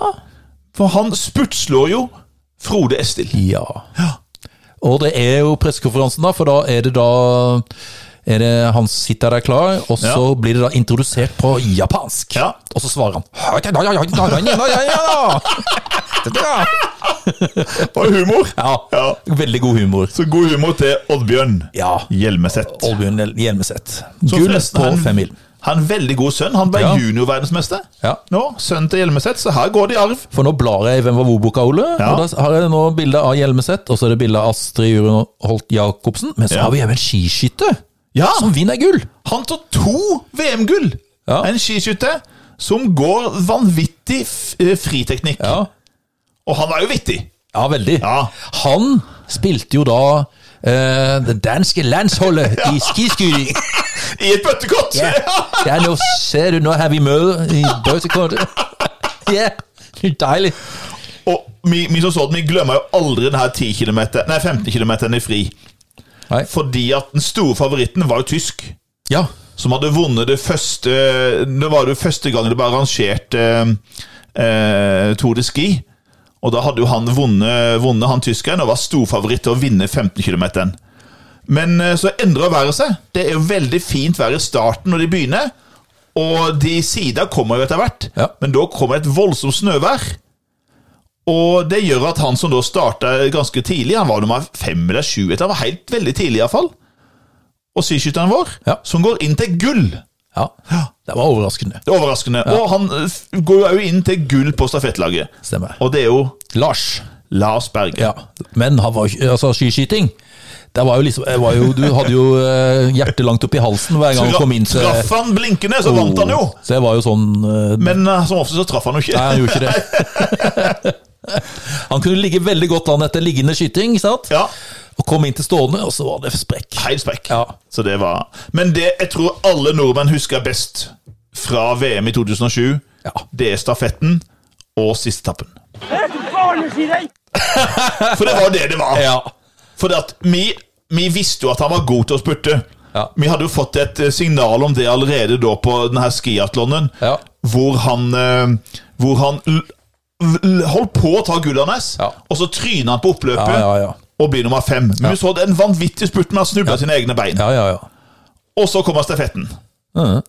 B: for han spurtslår jo Frode Estil.
A: ja. Og det er jo pressekonferansen, da, for da er det da er det, Han sitter der klar, og så blir det da introdusert på japansk.
B: Ja.
A: Og så svarer han
B: Og humor.
A: Ja.
B: Ja.
A: Veldig god humor.
B: Så god humor til Oddbjørn
A: Ja.
B: Hjelmeset.
A: Olbjørn Hjelmeset. Gull på femmil.
B: Han er veldig god sønn. Han ble
A: Ja.
B: juniorverdensmester
A: Ja.
B: nå. Sønnen til Hjelmeset, så her går det i arv.
A: For nå blar jeg i Hvem var hvor-boka, Ole.
B: Ja.
A: Og da har jeg nå bilde av Hjelmeset, og så er det bilde av Astrid Jurun Holt Jacobsen. Men så
B: Ja.
A: har vi en skiskytter
B: Ja,
A: som vinner gull!
B: Han tar to VM-gull!
A: Ja.
B: En skiskytter som går vanvittig f- eh, friteknikk.
A: Ja,
B: Og han var jo vittig!
A: ja veldig.
B: Ja.
A: Han spilte jo da eh, det danske landsholdet i skiskyting.
B: I et bøttekott!
A: Ja. ja, nå ser du, nå har vi møte i bøtekortet. Ja, det er deilig.
B: Og vi, vi som så den, vi glemmer jo aldri denne 10 kilometer, nei, 15 km i fri.
A: Nei.
B: Fordi at den store favoritten var jo tysk.
A: Ja,
B: Som hadde vunnet det første Det var det første gangen det ble arrangert eh, eh, Tour de Ski. Og da hadde jo han vunnet, vunnet han tyskeren og var storfavoritt til å vinne 15 km. Men eh, så endrer været seg. Det er jo veldig fint vær i starten når de begynner. Og de sida kommer jo etter hvert,
A: Ja.
B: men da kommer et voldsomt snøvær. Og det gjør at han som da starta ganske tidlig, han var nummer fem eller sju etter, han var helt veldig tidlig iallfall, og skiskytteren vår,
A: Ja.
B: som går inn til gull.
A: ja. Det var overraskende.
B: Det er overraskende. Og han eh, f- går jo også inn til gull på stafettlaget.
A: Stemmer.
B: Og det er jo
A: Lars.
B: Lars Berge.
A: Ja, men han var, jo- altså, skiskyting det var jo liksom, jeg var jo, Du hadde jo eh, hjertet langt opp i halsen hver gang han kom inn til
B: Traff han blinkende, så vant han jo!
A: Så jeg var jo sånn eh,
B: Men eh, som ofte så traff han jo ikke.
A: Nei, han gjorde ikke det. Han kunne ligge veldig godt an etter liggende skyting, ikke sant?
B: Ja,
A: og kom inn til stående, og så var det sprekk.
B: Helt sprekk.
A: Ja.
B: Så det var Men det jeg tror alle nordmenn husker best fra VM i 2007,
A: Ja.
B: det er stafetten og sistetappen.
C: Hør du faen si deg!
B: For det var jo det det var.
A: Ja.
B: For at vi, vi visste jo at han var god til å spurte.
A: Ja.
B: Vi hadde jo fått et eh, signal om det allerede da på denne skiatlonen,
A: Ja.
B: hvor han, eh, hvor han l l holdt på å ta gullet hans,
A: Ja.
B: og så tryna han på
A: Ja,
B: oppløpet.
A: ja, ja.
B: Og blir nummer fem. Men vi så den vanvittige spurten med å snuble sine egne bein.
A: ja, ja, ja.
B: Og så kommer stafetten.
A: Mhm.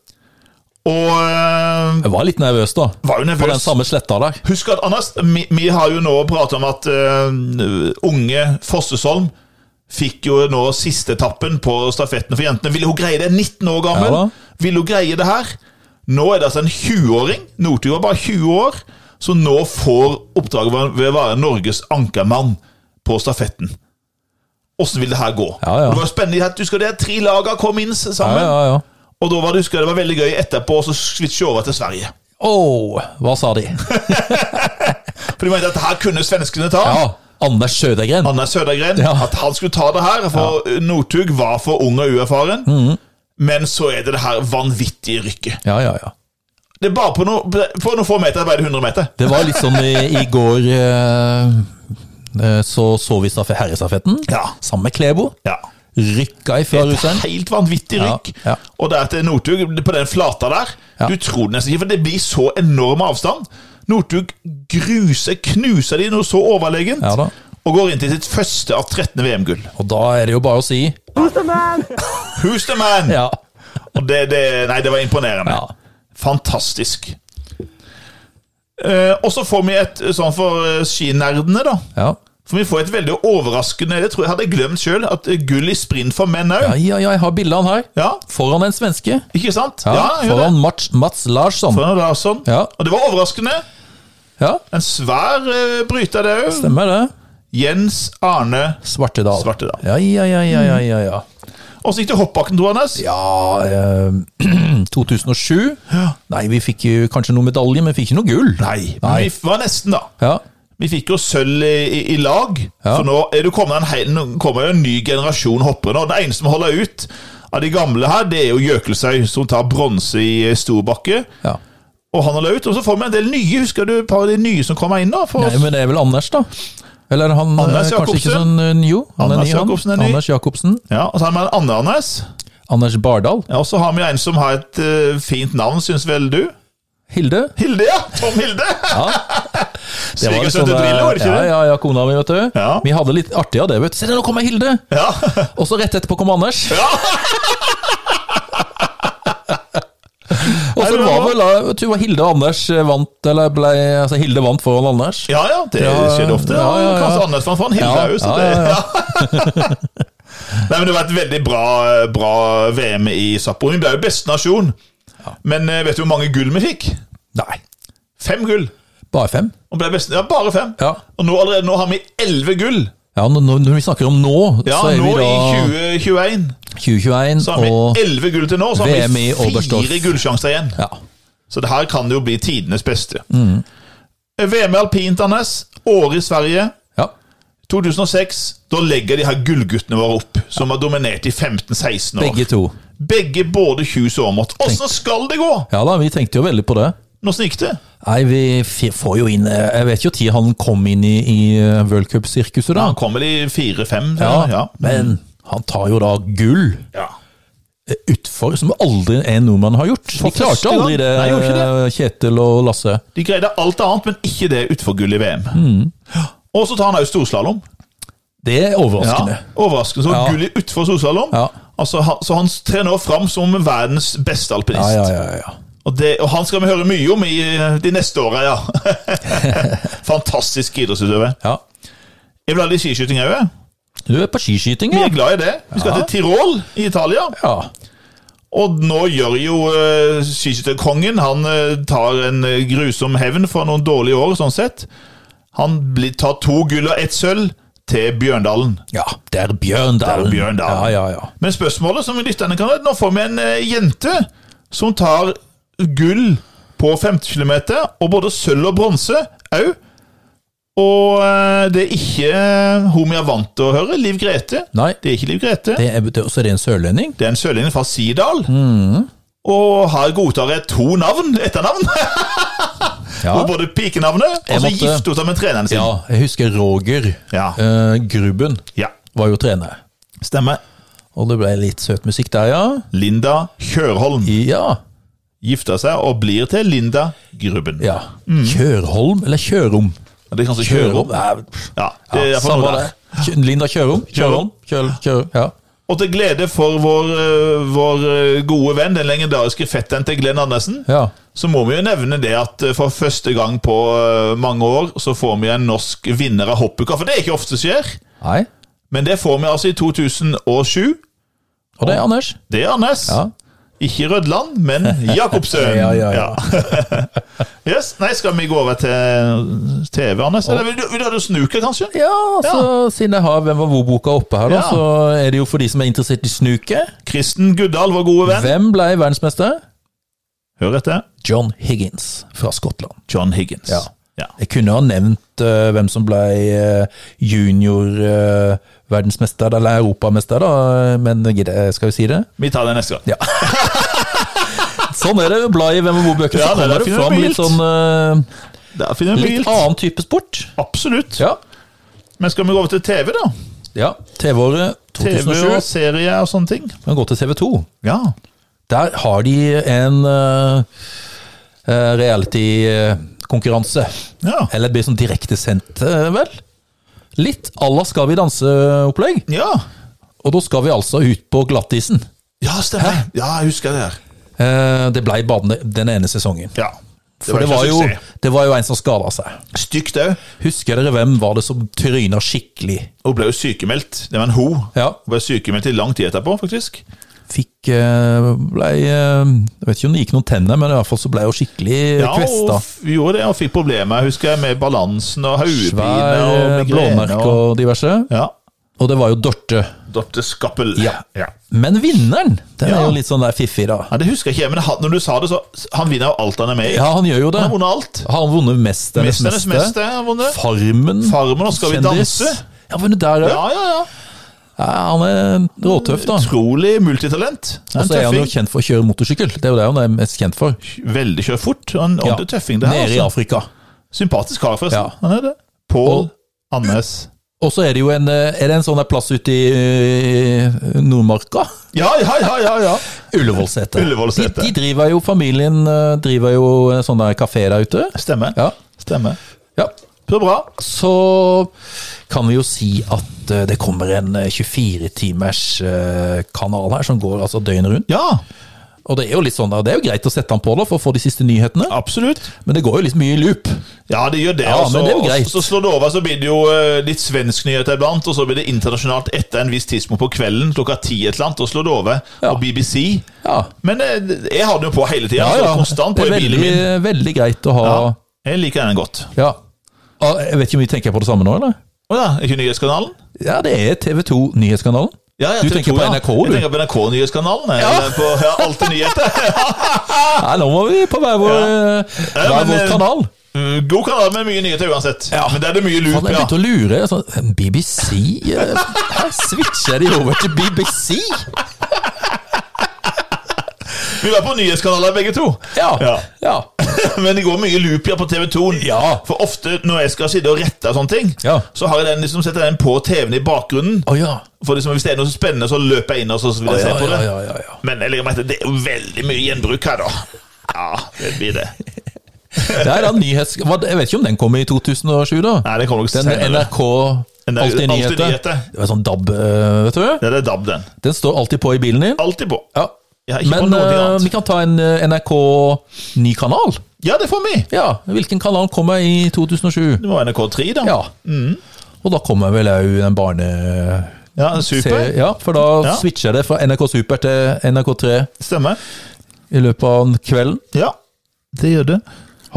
B: Og eh,
A: Jeg var litt nervøs, da.
B: var jo
A: På den
B: nervøs.
A: samme sletta der.
B: Husk at, Anders, vi, vi har jo nå pratet om at eh, unge Fossesholm fikk jo nå siste etappen på stafetten for jentene. Ville hun greie det? 19 år gammel.
A: Ja da.
B: Ville hun greie det her? Nå er det altså en 20-åring. Northug var bare 20 år. Så nå får oppdraget ved å være Norges ankermann på stafetten. Åssen vil det her gå?
A: Ja, ja.
B: Det var jo spennende. at Husker du det? Tre laga kom inn s-
A: Ja,
B: sammen.
A: ja, ja.
B: Og da var det, husker jeg, det var veldig gøy etterpå å switche over til Sverige.
A: Å, hva sa de?
B: For de mente at her kunne svenskene ta.
A: Ja, Anders Sødegren.
B: Anders Sødergren,
A: Ja.
B: at han skulle ta det her, for Northug var for ung og uerfaren.
A: Mhm.
B: Men så er det det her vanvittige rykket.
A: Ja, ja, ja.
B: Det er bare på, noe- på noen få meter, bare det 100 meter.
A: Det var litt sånn i, i går eh, eh, Så så vi staffe, herrestafetten
B: Ja.
A: sammen med Klebo.
B: Ja.
A: Rykka ifra
B: Et
A: russeren.
B: helt vanvittig
A: Ja,
B: rykk.
A: ja.
B: Og der til Northug, på den flata der
A: Ja.
B: Du tror det nesten ikke, for det blir så enorm avstand. Northug gruser, knuser de noe så overlegent,
A: Ja da.
B: og går inn til sitt første av 13 VM-gull.
A: Og da er det jo bare å si
C: Who's the man?
B: Who's the man?
A: ja.
B: Og det, det, nei, det var imponerende.
A: Ja.
B: Fantastisk. Eh, og så får vi et eh, sånn for eh, skinerdene, da.
A: Ja.
B: For vi får et veldig overraskende Det tror jeg hadde jeg glemt sjøl. Gull i sprint for menn
A: ja,
B: òg.
A: ja, ja, jeg har bildene her.
B: Ja.
A: Foran en svenske.
B: ikke sant?
A: Ja,
B: Ja, gjør det.
A: foran Mats, Mats Larsson.
B: Foran Larsson.
A: Ja.
B: Og det var overraskende.
A: Ja,
B: En svær eh, bryter, det òg.
A: stemmer det.
B: Jens Arne
A: Svartedal.
B: Svartedal. Mm.
A: Ja, ja, ja, ja, ja, ja, ja.
B: Og så gikk det hoppbakken, tror jeg, Anders.
A: Ja eh, 2007. Nei, vi fikk jo kanskje noe medalje, men vi fikk ikke noe gull.
B: Nei, men vi f- var nesten, da.
A: Ja.
B: Vi fikk jo sølv i, i, i lag.
A: Ja.
B: Så nå er det kommet en, hel, nå kommer jo en ny generasjon hoppere. nå. Den eneste som holder ut av de gamle her, det er jo Jøkelsøy, som tar bronse i eh, storbakke.
A: ja.
B: Og han holder ut. Og så får vi en del nye. Husker du et par av de nye som kommer inn nå? For
A: Nei,
B: oss?
A: men det er vel Anders, da? Eller han eh,
B: Anders
A: kanskje ikke
B: Jacobsen?
A: sånn eh, Jo, han
B: Anders
A: er ny, han.
B: Jacobsen er ny.
A: Anders Jacobsen.
B: Ja, og så har vi en annen Anders.
A: Anders Bardal.
B: Ja, og så har vi en som har et eh, fint navn, syns vel du?
A: Hilde.
B: Hilde, ja! Tom Hilde!
A: Det var
B: Svigersønn
A: liksom,
B: til Drillo, var det ikke
A: ja,
B: det?
A: ja, ja, kona mi, vet du.
B: Ja.
A: Vi hadde litt artig av det, vet du. Se, nå kommer Hilde!
B: Ja.
A: Og så rett etterpå kom Anders. og så
B: det
A: var
B: var-
A: vel da tror jeg Hilde og Anders eh, vant, eller ble Altså, Hilde vant foran Anders.
B: Ja, ja, det
A: Ja,
B: skjedde ofte. Ja,
A: ja, ja, ja.
B: Kanskje Anders fant fram Hilde
A: Ja,
B: òg, så
A: ja,
B: det
A: ja,
B: ja. Nei, men Det var et veldig bra, bra VM i Sappo. Vi ble jo beste nasjon. Men eh, vet du hvor mange gull vi fikk?
A: Nei.
B: Fem gull.
A: Bare fem?
B: Og ble beste, ja, Bare fem.
A: Ja.
B: Og nå, allerede nå har vi elleve gull.
A: Ja, når, når vi snakker om nå,
B: Ja,
A: så er
B: Nå
A: vi da
B: i 2021
A: 2021
B: så har
A: og
B: vi elleve gull til nå. Så har
A: VM
B: vi
A: i Oberstdorf.
B: fire gullsjanser igjen.
A: ja. Mm.
B: Så det her kan det jo bli tidenes beste. Eh, VM i alpint, Anders. Året i Sverige.
A: ja.
B: 2006, da legger de her gullguttene våre opp, som har dominert i 15-16 år.
A: Begge to.
B: Begge både Kjus og Aamodt. Åssen skal det gå?
A: Ja da, vi tenkte jo veldig på det.
B: Hvordan gikk det?
A: Nei, vi f- får jo inn eh, Jeg vet jo tid han kom inn i, i eh, World Cup-sirkuset, da.
B: Han kom vel i 4-5?
A: Ja,
B: ja.
A: Men han tar jo da gull
B: ja.
A: eh, utfor, som aldri en nordmann har gjort. De
B: For første
A: klarte
B: gang.
A: aldri det,
B: Nei, gjorde ikke
A: eh, Kjetil og Lasse.
B: De greide alt annet, men ikke det utforgullet i VM.
A: Mm.
B: Og så tar han òg storslalåm.
A: Det er
B: Ja,
A: overraskende.
B: overraskende. Så
A: Ja.
B: gull i utfor storslalåm.
A: Ja.
B: Altså, han- så han trer nå fram som verdens beste alpinist.
A: Ja, ja, ja. ja.
B: Og, det, og han skal vi høre mye om i eh, de neste åra, ja. Fantastisk idrettsutøver.
A: ja.
B: Jeg vil ha litt skiskyting òg.
A: Du er på skiskyting,
B: Vi
A: ja.
B: er glad i det. Vi skal til Tirol i Italia.
A: ja.
B: Og nå gjør jo uh, skiskytterkongen Han eh, tar en eh, grusom hevn for noen dårlige år, sånn sett. Han blir, tar to gull og ett sølv til Bjørndalen.
A: Ja, det er Bjørndalen.
B: Det er Bjørndalen.
A: Ja, ja, ja.
B: Men spørsmålet som lytterne kan Nå får vi en eh, jente som tar gull på 50 km, og både sølv og bronse òg. Og eh, det er ikke eh, hun vi er vant til å høre, Liv Grete.
A: Nei,
B: Det er ikke Liv Grete.
A: det er, det, så er det en sørlending?
B: Det er en sørlending fra Sidal. Og her godtar jeg to navn, etternavn.
A: Ja.
B: Og både pikenavnet, og
A: Jeg
B: så
A: måtte-
B: gifter hun seg med treneren sin.
A: ja. Jeg husker Roger
B: Ja.
A: eh, Grubben
B: Ja,
A: var jo trener.
B: Stemmer.
A: Og det ble litt søt musikk der, ja.
B: Linda Kjørholm
A: Ja.
B: gifter seg og blir til Linda Grubben.
A: ja.
B: Mm.
A: Kjørholm eller Kjørom?
B: Det er kanskje Kjørholm.
A: Nei, pff,
B: Altså Ja,
A: ja,
B: det er for
A: samme
B: noe
A: det.
B: der.
A: Kjø- Linda Kjørom? Kjørom? Kjøl, Kjø- ja.
B: Og til glede for vår, øh, vår øh, gode venn, den legendariske fetteren til Glenn Andersen,
A: ja.
B: så må vi jo nevne det at øh, for første gang på øh, mange år så får vi en norsk vinner av hoppuka. For det er ikke ofte skjer.
A: Nei.
B: Men det får vi altså i 2007.
A: Og det er Anders.
B: Det er Anders.
A: Ja.
B: Ikke Rødland, men Jacobsen.
A: Ja, ja, ja.
B: yes. Nei, skal vi gå over til TV, Anders? Eller vil du, vil du ha det snuket, kanskje?
A: Ja, så siden jeg har Hvem var hvor-boka oppe her, da,
B: Ja.
A: så er det jo for de som er interessert i snuket.
B: Kristen Guddal, vår gode venn.
A: Hvem ble verdensmester?
B: Hør etter.
A: John Higgins fra Skottland.
B: John Higgins.
A: Ja. Jeg kunne ha nevnt eh, hvem som ble eh, junior-verdensmester, eller europamester, da, eh, men gidder jeg- skal jo si det?
B: Vi tar det neste gang.
A: Ja. Sånn er det. Bla i Hvem og hvor-bøker,
B: Ja,
A: så
B: det
A: kommer
B: er
A: det
B: fint
A: fram
B: bild.
A: litt sånn eh,
B: Der finner vi
A: Litt
B: bilt.
A: annen type sport.
B: Absolutt.
A: Ja.
B: Men skal vi gå over til TV, da?
A: ja. TV-året
B: TV
A: 2007.
B: og serie og sånne ting.
A: Kan gå til TV 2.
B: Ja.
A: Der har de en eh, reality-konkurranse.
B: Ja.
A: Eller det blir sånn direktesendt, eh, vel? Litt à la Skal vi danse-opplegg.
B: Ja,
A: Og da skal vi altså ut på glattisen.
B: ja stemmer. Ja, jeg husker det her.
A: Eh, det ble bare den- den ene sesongen.
B: Ja.
A: For det
B: ikke
A: var, jo,
B: suksess.
A: det var jo en som skada seg.
B: Stygt òg.
A: Husker dere hvem var det som tryna skikkelig?
B: Hun ble jo sykemeldt. Det var en ho.
A: Ja.
B: Hun ble sykemeldt i lang tid etterpå, faktisk.
A: Fikk eh, Blei eh, Jeg vet ikke om det gikk noen tenner, men i hvert fall så blei hun skikkelig
B: Ja,
A: kvesta.
B: hun f- gjorde det, og fikk problemer, husker jeg, med balansen og hodepine
A: Svær
B: og
A: eh,
B: migrene
A: blåmerke
B: og
A: og diverse.
B: Ja.
A: og det var jo Dorte.
B: Dorte Skappel.
A: Ja.
B: ja.
A: Men vinneren, den er
B: Ja.
A: jo litt sånn der fiffig, da.
B: Ja, Det husker jeg ikke, men han, når du sa det, så Han vinner jo alt han er med i.
A: Ja, han gjør jo det.
B: Han har vunnet alt.
A: Har han vunnet Mesternes
B: Mesternes mester
A: meste?
B: har vunnet.
A: Farmen?
B: Farmen og Skal vi
A: Kjendis?
B: danse?
A: Ja, vunnet der òg.
B: Ja, ja, ja.
A: Ja, han er råtøff, da.
B: Utrolig multitalent.
A: Og
B: En
A: så er han jo
B: tøffing.
A: kjent for å kjøre motorsykkel. Det er jo det han er mest kjent for.
B: Veldig kjørt fort. Han er ordentlig tøffing, det her.
A: Nede i
B: altså.
A: Afrika.
B: Sympatisk kar, forresten.
A: Ja.
B: Han er det. Pål
A: Og-
B: Andes.
A: Og så er det jo en, eh, er det en sånn der plass ute i eh, Nordmarka.
B: Ja, ja, ja, ja, ja.
A: Ullevålseter.
B: Ullevålseter.
A: De, de driver jo, familien eh, driver jo en sånn der kafé der ute.
B: Stemmer.
A: Ja.
B: Stemmer.
A: ja.
B: Så bra.
A: Så kan vi jo si at eh, det kommer en 24-timers kanal her, som går altså døgnet rundt.
B: Ja,
A: Og det er jo litt sånn, da, det er jo greit å sette den på da, for å få de siste nyhetene,
B: absolutt.
A: men det går jo litt mye i loop.
B: Ja, det gjør det.
A: Ja,
B: altså.
A: men det er jo
B: Og
A: greit.
B: Så slår det over, så blir det jo eh, litt svensk nyhet iblant, og så blir det internasjonalt etter en viss tidspunkt på kvelden, klokka ti et eller annet, og slår det over.
A: Ja.
B: Og BBC.
A: Ja,
B: Men eh, jeg har den jo på hele tida.
A: ja, ja.
B: Konstant
A: Det
B: på
A: er
B: i bilen
A: veldig,
B: min.
A: veldig greit å ha
B: Ja,
A: ja.
B: jeg liker den godt.
A: Ah, Jeg vet ikke om vi tenker på det samme nå, eller?
B: Å ja, ikke Nyhetskanalen?
A: Ja, det er TV 2 Nyhetskanalen.
B: Ja, ja,
A: Du
B: TV2,
A: tenker på
B: ja.
A: NRK,
B: Jeg
A: du?
B: tenker på NRK-nyhetskanalen. Ja. På ja, Alltid nyheter.
A: Nei, nå må vi på hver vår, eh,
B: Ja,
A: hver
B: men,
A: vår
B: eh,
A: kanal.
B: Mm, God kanal med mye nyheter uansett.
A: Ja.
B: Men der er det mye
A: Han
B: loop,
A: er
B: ja.
A: begynt å lure. Sånn, BBC eh, Her switcher de over til BBC!
B: Vi var på nyhetskanaler begge to.
A: Ja. ja.
B: Men det går mye loop ja, på TV2.
A: Ja.
B: For ofte når jeg skal sitte og rette sånne ting,
A: Ja.
B: så har jeg den, liksom, setter jeg den på TV-en i bakgrunnen.
A: Å ja.
B: For liksom, Hvis det er noe så spennende, så løper jeg inn og så vil
A: Å,
B: jeg
A: ja,
B: se på
A: ja,
B: det.
A: ja, ja, ja.
B: Men jeg legger merke til at det er jo veldig mye gjenbruk her, da. Ja, det blir det.
A: Det er da nyhets... hva- Jeg vet ikke om den kom i 2007, da?
B: Nei, det kommer nok
A: Den med
B: senere.
A: NRK
B: Den der
A: Alltid
B: Alltid
A: nyheter.
B: Nyheter.
A: Det var sånn DAB, eh, vet du.
B: Ja, det er DAB, den.
A: Den står alltid på i bilen din.
B: Alltid på.
A: Ja.
B: Ja, ikke på
A: Men
B: noe
A: eh,
B: annet.
A: vi kan ta en eh, NRK ny kanal.
B: Ja, det får vi.
A: Ja, Hvilken kanal kommer i 2007?
B: Det må være NRK3, da.
A: Ja.
B: Mm.
A: Og da kommer vel òg den barne...
B: Ja, super.
A: serie- Ja, for da
B: Ja.
A: switcher det fra NRK Super til NRK3
B: Stemmer.
A: i løpet av kvelden.
B: Ja, det gjør det.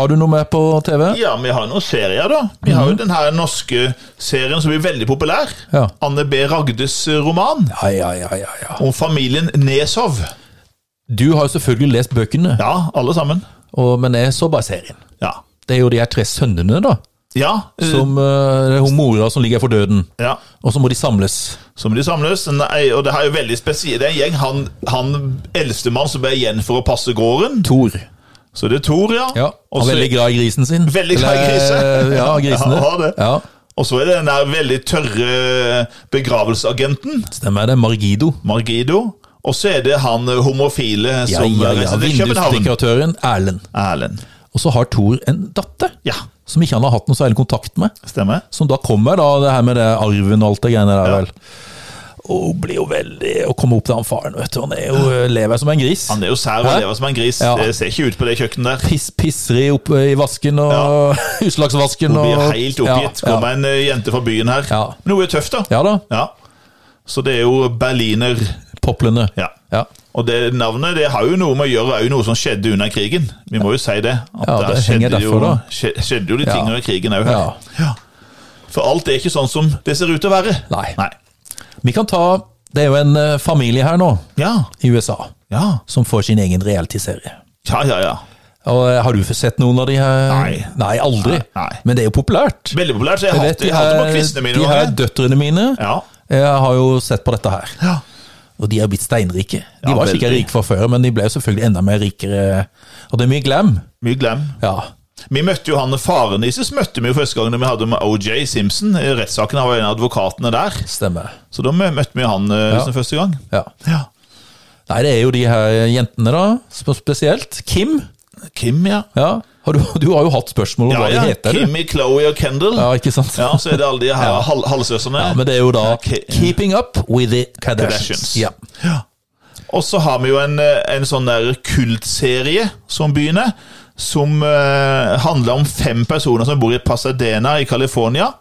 A: Har du noe med på TV?
B: Ja, vi har noen serier, da. Vi har jo den her norske serien som blir veldig populær.
A: Mhm. Ja.
B: Anne B. Ragdes roman
A: Ja, ja, ja, ja, ja.
B: om familien Nesov.
A: Du har jo selvfølgelig lest bøkene,
B: Ja, alle sammen.
A: og, men jeg så bare serien.
B: Ja.
A: Det er jo de her tre sønnene, da.
B: Ja, eh,
A: Som eh, det er hun mora som ligger for døden.
B: ja.
A: Og så må de samles.
B: Som de samles. Nei, og det her er jo veldig spesielt. Det er en gjeng. Han, han eldstemann som er igjen for å passe gården.
A: Tor.
B: Så det er Tor, ja.
A: Ja,
B: Og
A: han er
B: så-
A: veldig glad i grisen sin.
B: Veldig glad i
A: Eller,
B: grisen.
A: eh, Ja, grisene.
B: Ja, han har det.
A: Ja,
B: Og så er det den der veldig tørre begravelseagenten.
A: Stemmer det. Margido.
B: Margido. Og så er det han eh, homofile
A: Ja,
B: som
A: ja,
B: eh,
A: ja.
B: reiser til København.
A: Vindusdekoratøren Erlend.
B: Erlend.
A: Og så har Tor en datter
B: Ja,
A: som ikke han har hatt noe særlig kontakt med.
B: stemmer.
A: Som da kommer, da, det her med det arven og alt det greiene der, vel. Og hun blir jo veldig Å komme opp til han faren, vet du. Han er jo, eh, lever som en gris.
B: Han er jo sær
A: Hæ?
B: og lever som en gris.
A: Ja.
B: Det ser ikke ut på det kjøkkenet der.
A: Piss, pisser i, opp, eh, i vasken og utslagsvasken.
B: Hun blir
A: og-
B: helt oppgitt.
A: Ja,
B: Kommer
A: ja.
B: en eh, jente fra byen her.
A: Ja.
B: Men hun er tøff, da.
A: ja da.
B: Ja. Så det er jo berliner.
A: Poplene.
B: Ja.
A: Ja.
B: Og det navnet det har jo noe med å gjøre er jo noe som skjedde under krigen. Vi må jo si det. At
A: Ja,
B: der
A: det henger
B: skjedde
A: derfor,
B: jo,
A: da.
B: skje- Skjedde jo de
A: Ja.
B: tingene under krigen òg her.
A: Ja.
B: Ja. For alt er ikke sånn som det ser ut til å være.
A: Nei. Vi kan ta Det er jo en eh, familie her nå,
B: Ja.
A: i USA,
B: Ja.
A: som får sin egen reality-serie.
B: Ja, ja, ja.
A: Og eh, Har du sett noen av de her?
B: Nei.
A: Nei, aldri.
B: Nei, nei.
A: Men det er jo populært.
B: Veldig populært. Så
A: Jeg
B: jeg, har
A: vet,
B: hatt
A: de
B: jeg har hatt det
A: her-
B: på quizene mine.
A: De
B: mange.
A: her døtrene mine
B: Ja.
A: jeg har jo sett på dette her.
B: ja.
A: Og de er blitt steinrike. De
B: Ja,
A: var ikke
B: veldig.
A: rike fra før, men de ble jo selvfølgelig enda mer rikere. Og det er mye glam.
B: Mye glem.
A: Ja.
B: Vi møtte jo han Farenisses møtte vi jo første gangen vi hadde med OJ Simpson. I rettssaken han var en av advokatene der.
A: Stemmer.
B: Så da mø- møtte vi jo han eh, liksom første gang.
A: Ja.
B: Ja.
A: Nei, det er jo de her jentene, da. sp- Spesielt. Kim.
B: Kim, ja.
A: Ja. Har du, du har jo hatt spørsmål om
B: Ja,
A: hva
B: ja.
A: de heter. du.
B: Kimmy, Chloe og Kendal.
A: Ja, ikke sant?
B: Ja, så er det alle de her hal halvsøstrene.
A: Ja, men det er jo da
B: Ja, Ki-
A: 'Keeping Up With The Kardashians'.
B: Kardashians.
A: Ja.
B: Og så har vi jo en, eh, en sånn der kultserie som begynner, som eh, handler om fem personer som bor i Pasadena i California.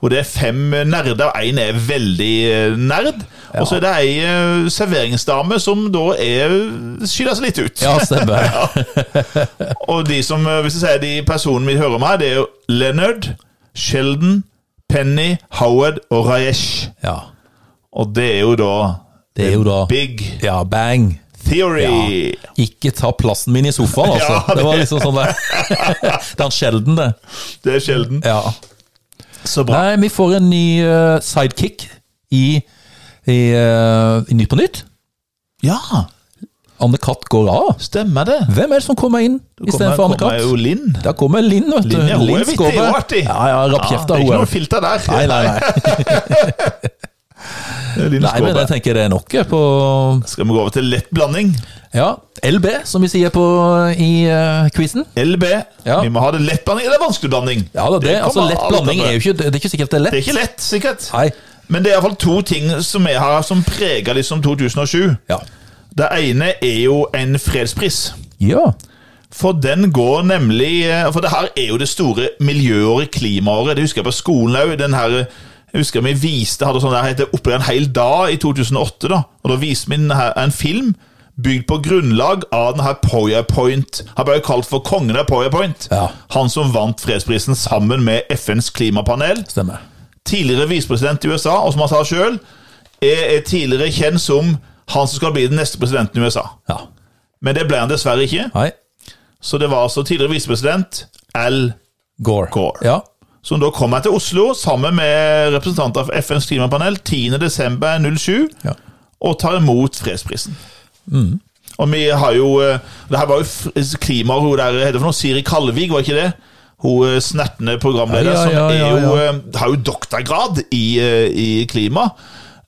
B: Hvor det er fem eh, nerder, og én er veldig eh, nerd. Og så er det ei eh, serveringsdame som da er skiller seg litt ut.
A: ja, stemmer.
B: Og de som, eh, hvis jeg sier de personene vi hører om her, det er jo Leonard, Sheldon, Penny, Howard og Rajesh.
A: Ja.
B: Og det er jo da
A: Det er jo da
B: Big
A: Ja, bang.
B: Theory.
A: Ikke ta plassen min i sofaen, altså.
B: Ja, det-
A: det var liksom sånn der. det er sjelden, det.
B: Det er sjelden.
A: Ja.
B: Så bra.
A: Nei, vi får en ny eh, sidekick i, i, eh, i Nytt på nytt.
B: Ja,
A: Anne-Kat går av.
B: stemmer det.
A: Hvem er det som kommer inn istedenfor
B: kommer jo
A: Anne-Kat?
B: Linn.
A: Da kommer Linn, vet du.
B: Linn, ja, hun er vittig,
A: Skåber.
B: hun er artig.
A: Ja, ja,
B: Ja,
A: rappkjefta
B: det er
A: hun
B: ikke noe
A: er.
B: filter der.
A: Nei, nei, nei.
B: Det er Linn
A: nei, men
B: Skåber.
A: jeg tenker det er nok jeg, på
B: Skal vi gå over til lett blanding?
A: Ja, LB, som vi sier på, i uh, quizen.
B: LB.
A: Ja.
B: Vi må ha det lett blanding eller vanskelig blanding.
A: Ja, da, det, altså
B: kommer
A: Lett
B: alt an
A: blanding
B: på.
A: er jo ikke Det er ikke sikkert det er lett.
B: Det er ikke lett, sikkert.
A: Nei.
B: Men det er iallfall to ting som vi har som preger liksom 2007.
A: Ja.
B: Det ene er jo en fredspris.
A: ja.
B: For den går nemlig eh, For det her er jo det store miljøåret, klimaåret. Det husker jeg på skolen òg. Den her eh, jeg husker vi viste hadde sånn der het det Oppi en hel dag i 2008. da, og Da viste vi den her, en film bygd på grunnlag av den her PowerPoint. Han ble jo kalt for kongen av PowerPoint.
A: Ja.
B: Han som vant fredsprisen sammen med FNs klimapanel.
A: Stemmer.
B: Tidligere visepresident i USA, og som han sa sjøl, er, er tidligere kjent som han som skal bli den neste presidenten i USA.
A: Ja.
B: Men det ble han dessverre ikke.
A: Nei.
B: Så det var altså tidligere visepresident Al
A: Gore.
B: Gore.
A: Ja.
B: som da kom her til Oslo sammen med representanter for FNs klimapanel 10.12.07
A: Ja. Mm.
B: og tar imot fredsprisen. Og vi har jo eh, Det her var jo f- eh, klimaet hun der heter for noe, Siri Kalvik, var ikke det? Hun eh, snertne programleder
A: Ja, ja, ja, ja,
B: som er jo,
A: ja.
B: eh, har jo doktorgrad i, eh, i klima.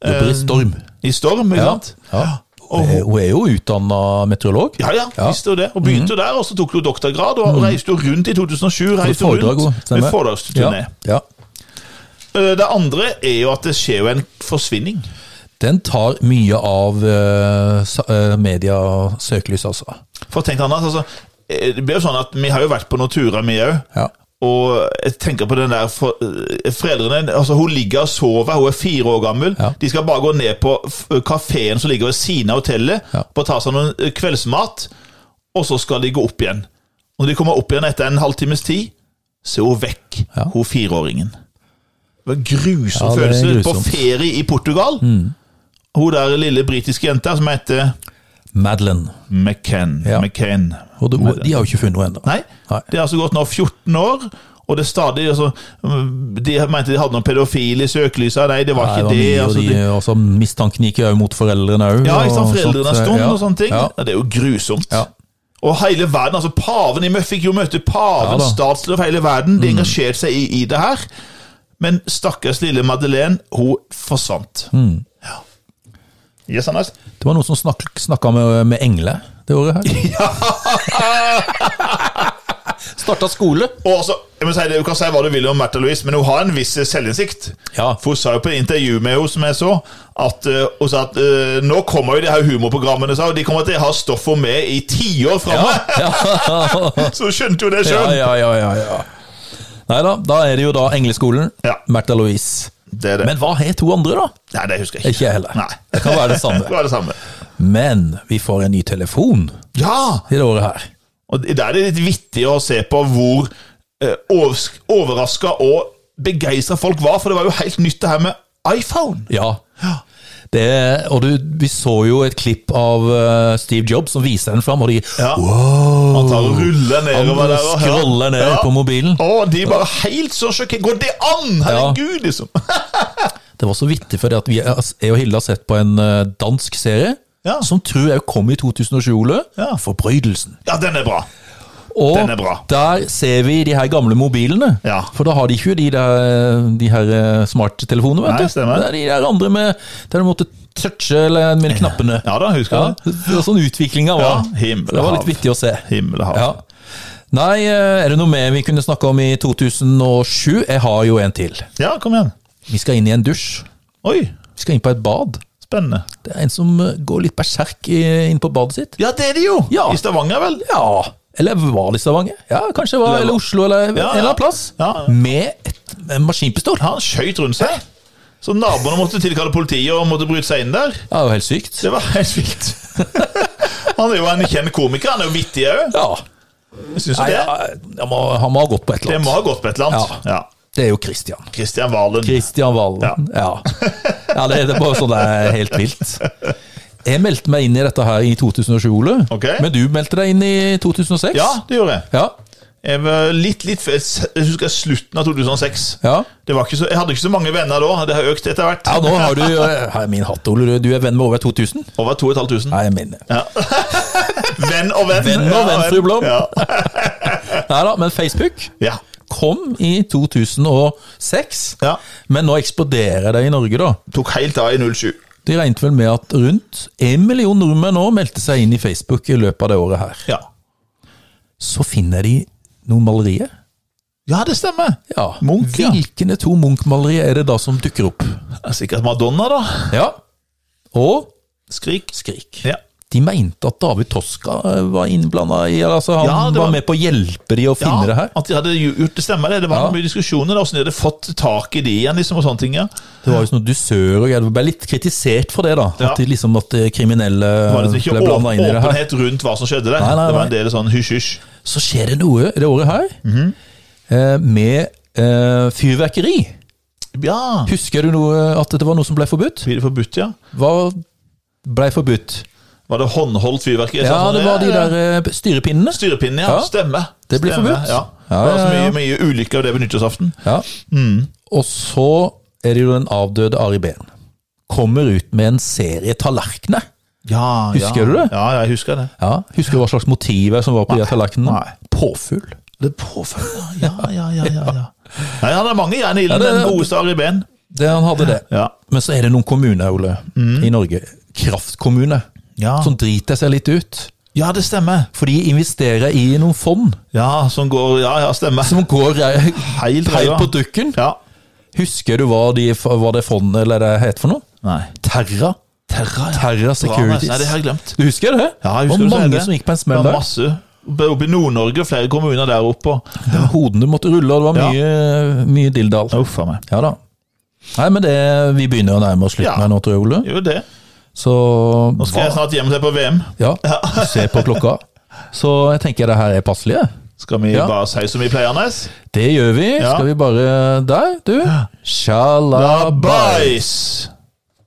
A: Jobber i storm.
B: I storm, Um, ikke
A: Ja.
B: sant?
A: ja. Hun er- hun er jo utdanna meteorolog.
B: Ja, ja, visste jo det. Og
A: Mm.
B: begynte jo der, og så tok du doktorgrad, og reiste jo rundt i 2007.
A: Med
B: reiste
A: foredrag
B: rundt
A: også, stemmer.
B: med foredragsturné.
A: Ja. ja.
B: Eh, Det andre er jo at det skjer jo en forsvinning.
A: Den tar mye av eh, sa- eh, media søkelyset, altså.
B: For tenk deg, Anders, altså, eh, det blir jo sånn at vi har jo vært på noen turer, vi òg.
A: Ja.
B: Og jeg tenker på den der for, eh, Foreldrene altså Hun ligger og sover, hun er fire år gammel.
A: Ja.
B: De skal bare gå ned på kafeen som ligger ved siden av hotellet,
A: Ja.
B: og ta seg noen eh, kveldsmat. Og så skal de gå opp igjen. Og Når de kommer opp igjen etter en halvtimes tid, så er hun vekk,
A: Ja.
B: hun fireåringen. Det var en grusom
A: Ja, det er
B: følelse. På
A: grusomt. Mm.
B: ferie i Portugal. Hun der lille britiske jenta som heter
A: Madeleine.
B: McCann.
A: Ja.
B: McCann.
A: Og de, de har jo ikke funnet noe ennå.
B: Nei,
A: Nei.
B: det har altså gått nå 14 år, og det er stadig altså, De mente de hadde noen pedofile i søkelyset, nei, det var
A: Nei,
B: ikke det.
A: mye,
B: altså,
A: og
B: de,
A: de, også mistanken gikk jo mot foreldrene òg.
B: ja, ikke sant, foreldrene er stund og sånne ting.
A: Ja,
B: Ja, det er jo grusomt.
A: Ja.
B: Og hele verden, altså paven i Mø- fikk jo møte
A: Ja
B: paven,
A: da. Mm.
B: statsleder for hele verden, de engasjerte seg i, i det her. Men stakkars lille Madeleine, hun forsvant.
A: Mm.
B: Ja. Yes, Anders?
A: Det var noen som snak, snakka med, med engle det året her. Starta skole.
B: Og også, jeg må si det, Du kan si hva du vil om Märtha Louise, men hun har en viss selvinnsikt.
A: Ja.
B: For Hun sa jo på et intervju med henne som jeg så, at eh, hun sa at eh, nå kommer jo de her humorprogrammene, sa hun. De kommer til å ha stoffet med i tiår framover! så hun skjønte jo det
A: Ja,
B: sjøl.
A: ja, ja, ja, ja. Nei da, da er det jo da engleskolen.
B: Ja.
A: Märtha Louise.
B: Det er det.
A: Men hva har to andre, da?
B: Nei, det husker jeg
A: Ikke
B: ikke.
A: jeg heller.
B: Nei.
A: Det kan være det
B: Det
A: samme.
B: var det samme.
A: Men vi får en ny telefon
B: Ja!
A: i det året her.
B: Og der er det litt vittig å se på hvor eh, overraska og begeistra folk var, for det var jo helt nytt det her med iPhone.
A: Ja. Det, og du, vi så jo et klipp av eh, Steve Jobs som viser den fram, og de
B: Ja. Han tar og ruller nedover der. og-
A: scroller ned på mobilen.
B: Å, de er bare helt så sjokkert. Går det an?! Herregud, liksom!
A: Det var så vittig, for at vi eh, altså, jeg og Hilde har sett på en eh, dansk serie
B: Ja.
A: som tror jeg kom i 2007, Ole.
B: Ja.
A: Forbrytelsen.
B: Ja, den er bra.
A: Og
B: Den er bra.
A: der ser vi de her gamle mobilene.
B: Ja.
A: For da har de ikke de, der, de her eh, smarttelefonene, vet
B: Nei,
A: du.
B: stemmer.
A: Det er de der andre med, der du måtte touche eller med de knappene.
B: Ja da, husker
A: Ja,
B: jeg det.
A: det var sånn utviklinga var.
B: Ja, himmel
A: Så det var
B: og
A: litt
B: hav.
A: vittig å se.
B: Himmel og hav.
A: Ja. Nei, eh, er det noe mer vi kunne snakke om i 2007? Jeg har jo en til.
B: Ja, kom igjen.
A: Vi skal inn i en dusj.
B: Oi,
A: Vi skal inn på et bad.
B: spennende.
A: Det er en som eh, går litt berserk i- inn på badet sitt.
B: Ja, det er det jo!
A: Ja.
B: I Stavanger, vel?
A: Ja, eller var det i Stavanger? Ja, kanskje det var, eller Oslo, eller en
B: ja.
A: eller annen plass.
B: Ja.
A: Med et en maskinpistol.
B: Han skøyt rundt seg. Så naboene måtte tilkalle politiet og måtte bryte seg inn der.
A: Det er jo helt sykt.
B: Det var helt vilt. Han er jo en kjent komiker. Han er jo vittig òg.
A: Ja.
B: Syns du
A: Nei,
B: det?
A: ja, han må, han må ha gått på et
B: Det
A: eller
B: må
A: annet.
B: ha gått på et eller annet. Ja.
A: det er jo Christian.
B: Kristian Valen.
A: Christian Valen. Ja. ja. det, det er bare sånn det er helt vilt. Jeg meldte meg inn i dette her i 2007, Ole.
B: Ok.
A: Men du meldte deg inn i 2006.
B: Ja, det gjorde jeg.
A: Ja.
B: Jeg var litt, litt Jeg husker slutten av 2006.
A: ja.
B: Det var ikke så, jeg hadde ikke så mange venner da. Det har økt etter hvert.
A: Ja, nå har du Her er min hatt, Ole. Du er venn med over 2000?
B: Over 2500.
A: Nei, jeg mener
B: Venn og venn.
A: Venn og venn, fru Blom.
B: Ja.
A: Nei da, men Facebook
B: ja.
A: kom i 2006.
B: Ja.
A: Men nå eksploderer det i Norge, da.
B: Tok helt av i 07.
A: De regnet vel med at rundt en million nordmenn nå meldte seg inn i Facebook i løpet av det året her.
B: Ja.
A: Så finner de noen malerier.
B: ja, det stemmer.
A: Ja.
B: Munch, ja.
A: Hvilkene to Munch-malerier er det da som dukker opp?
B: Det er Sikkert Madonna, da.
A: Ja. Og
B: Skrik.
A: Skrik.
B: Ja.
A: De mente at David Toska eh, var innblanda i altså Han
B: Ja, det
A: var...
B: var-
A: med på å hjelpe de å finne det her.
B: At de hadde gjort det stemmer. Det Det var
A: Ja.
B: mye diskusjoner da, hvordan de hadde fått tak i de igjen. liksom, og sånne ting. ja.
A: Det var jo sånn dusør og greier. Det ble litt kritisert for det, da.
B: Ja.
A: At de liksom at eh, kriminelle
B: Det var liksom ikke
A: ble blanda inn i det her.
B: åpenhet rundt hva som skjedde der.
A: Nei, nei,
B: Det var
A: nei.
B: en del sånn hysj-hysj.
A: Så skjer det noe i det året her
B: Mhm.
A: eh, med eh, fyrverkeri.
B: Ja.
A: Husker du noe, at det var noe som ble forbudt?
B: Blir det forbudt, ja?
A: Hva ble forbudt?
B: Var det håndholdt fyrverkeri?
A: Ja,
B: Sånn,
A: det var de
B: ja.
A: der eh, styrepinnene.
B: Styrepinnen, ja.
A: Ja.
B: Stemmer.
A: Det ble
B: Stemmer,
A: forbudt.
B: Ja.
A: Ja,
B: Det var så
A: ja, ja.
B: mye, mye ulykker av det på nyttårsaften.
A: Ja.
B: Mm.
A: Og så er det jo den avdøde Ari Behn. Kommer ut med en serie tallerkener.
B: Ja,
A: Husker
B: ja.
A: du det?
B: Ja, jeg husker det.
A: Ja, Husker du hva slags motiver som var på de tallerkenene?
B: Nei.
A: Påfugl.
B: Det påfølger, ja, ja, ja. ja, ja. Nei, han er mange jern i
A: Ja,
B: ilden,
A: det-
B: den godeste Ari Behn.
A: Det, han hadde det.
B: Ja. Mm.
A: Men så er det noen kommuner Ole, i Norge, kraftkommune,
B: Ja.
A: som driter seg litt ut.
B: ja, det stemmer.
A: For de investerer i noen fond
B: Ja, som går Ja, ja, stemmer.
A: som går eh,
B: Heil
A: helt
B: drøya.
A: på dukken.
B: Ja.
A: Husker du hva, de, hva det fondet eller det het for noe?
B: Nei.
A: Terra.
B: Terra, ja.
A: Terra Securities.
B: Nei, det har jeg glemt.
A: Du husker det?
B: Ja,
A: det
B: jeg husker
A: var
B: du sa
A: mange
B: det.
A: som gikk på en
B: Det
A: smell
B: var
A: der.
B: masse. Oppe i Nord-Norge og flere kommuner der oppe. og-
A: Hodene måtte rulle, og det var
B: Ja.
A: mye, mye dilldall.
B: Uff a meg.
A: Ja da. Nei, men det, vi begynner å nærme oss slutten
B: Ja.
A: her nå, tror jeg, Ole.
B: Jo, det.
A: Så
B: Nå skal jeg snart hjem og se på VM.
A: Ja, se på klokka. Så jeg tenker det her er passelig. jeg.
B: Skal vi
A: Ja.
B: bare si som vi pleier, Nes?
A: Det gjør vi.
B: Ja.
A: Skal vi bare Der, du. Sjalabais.
B: Labais!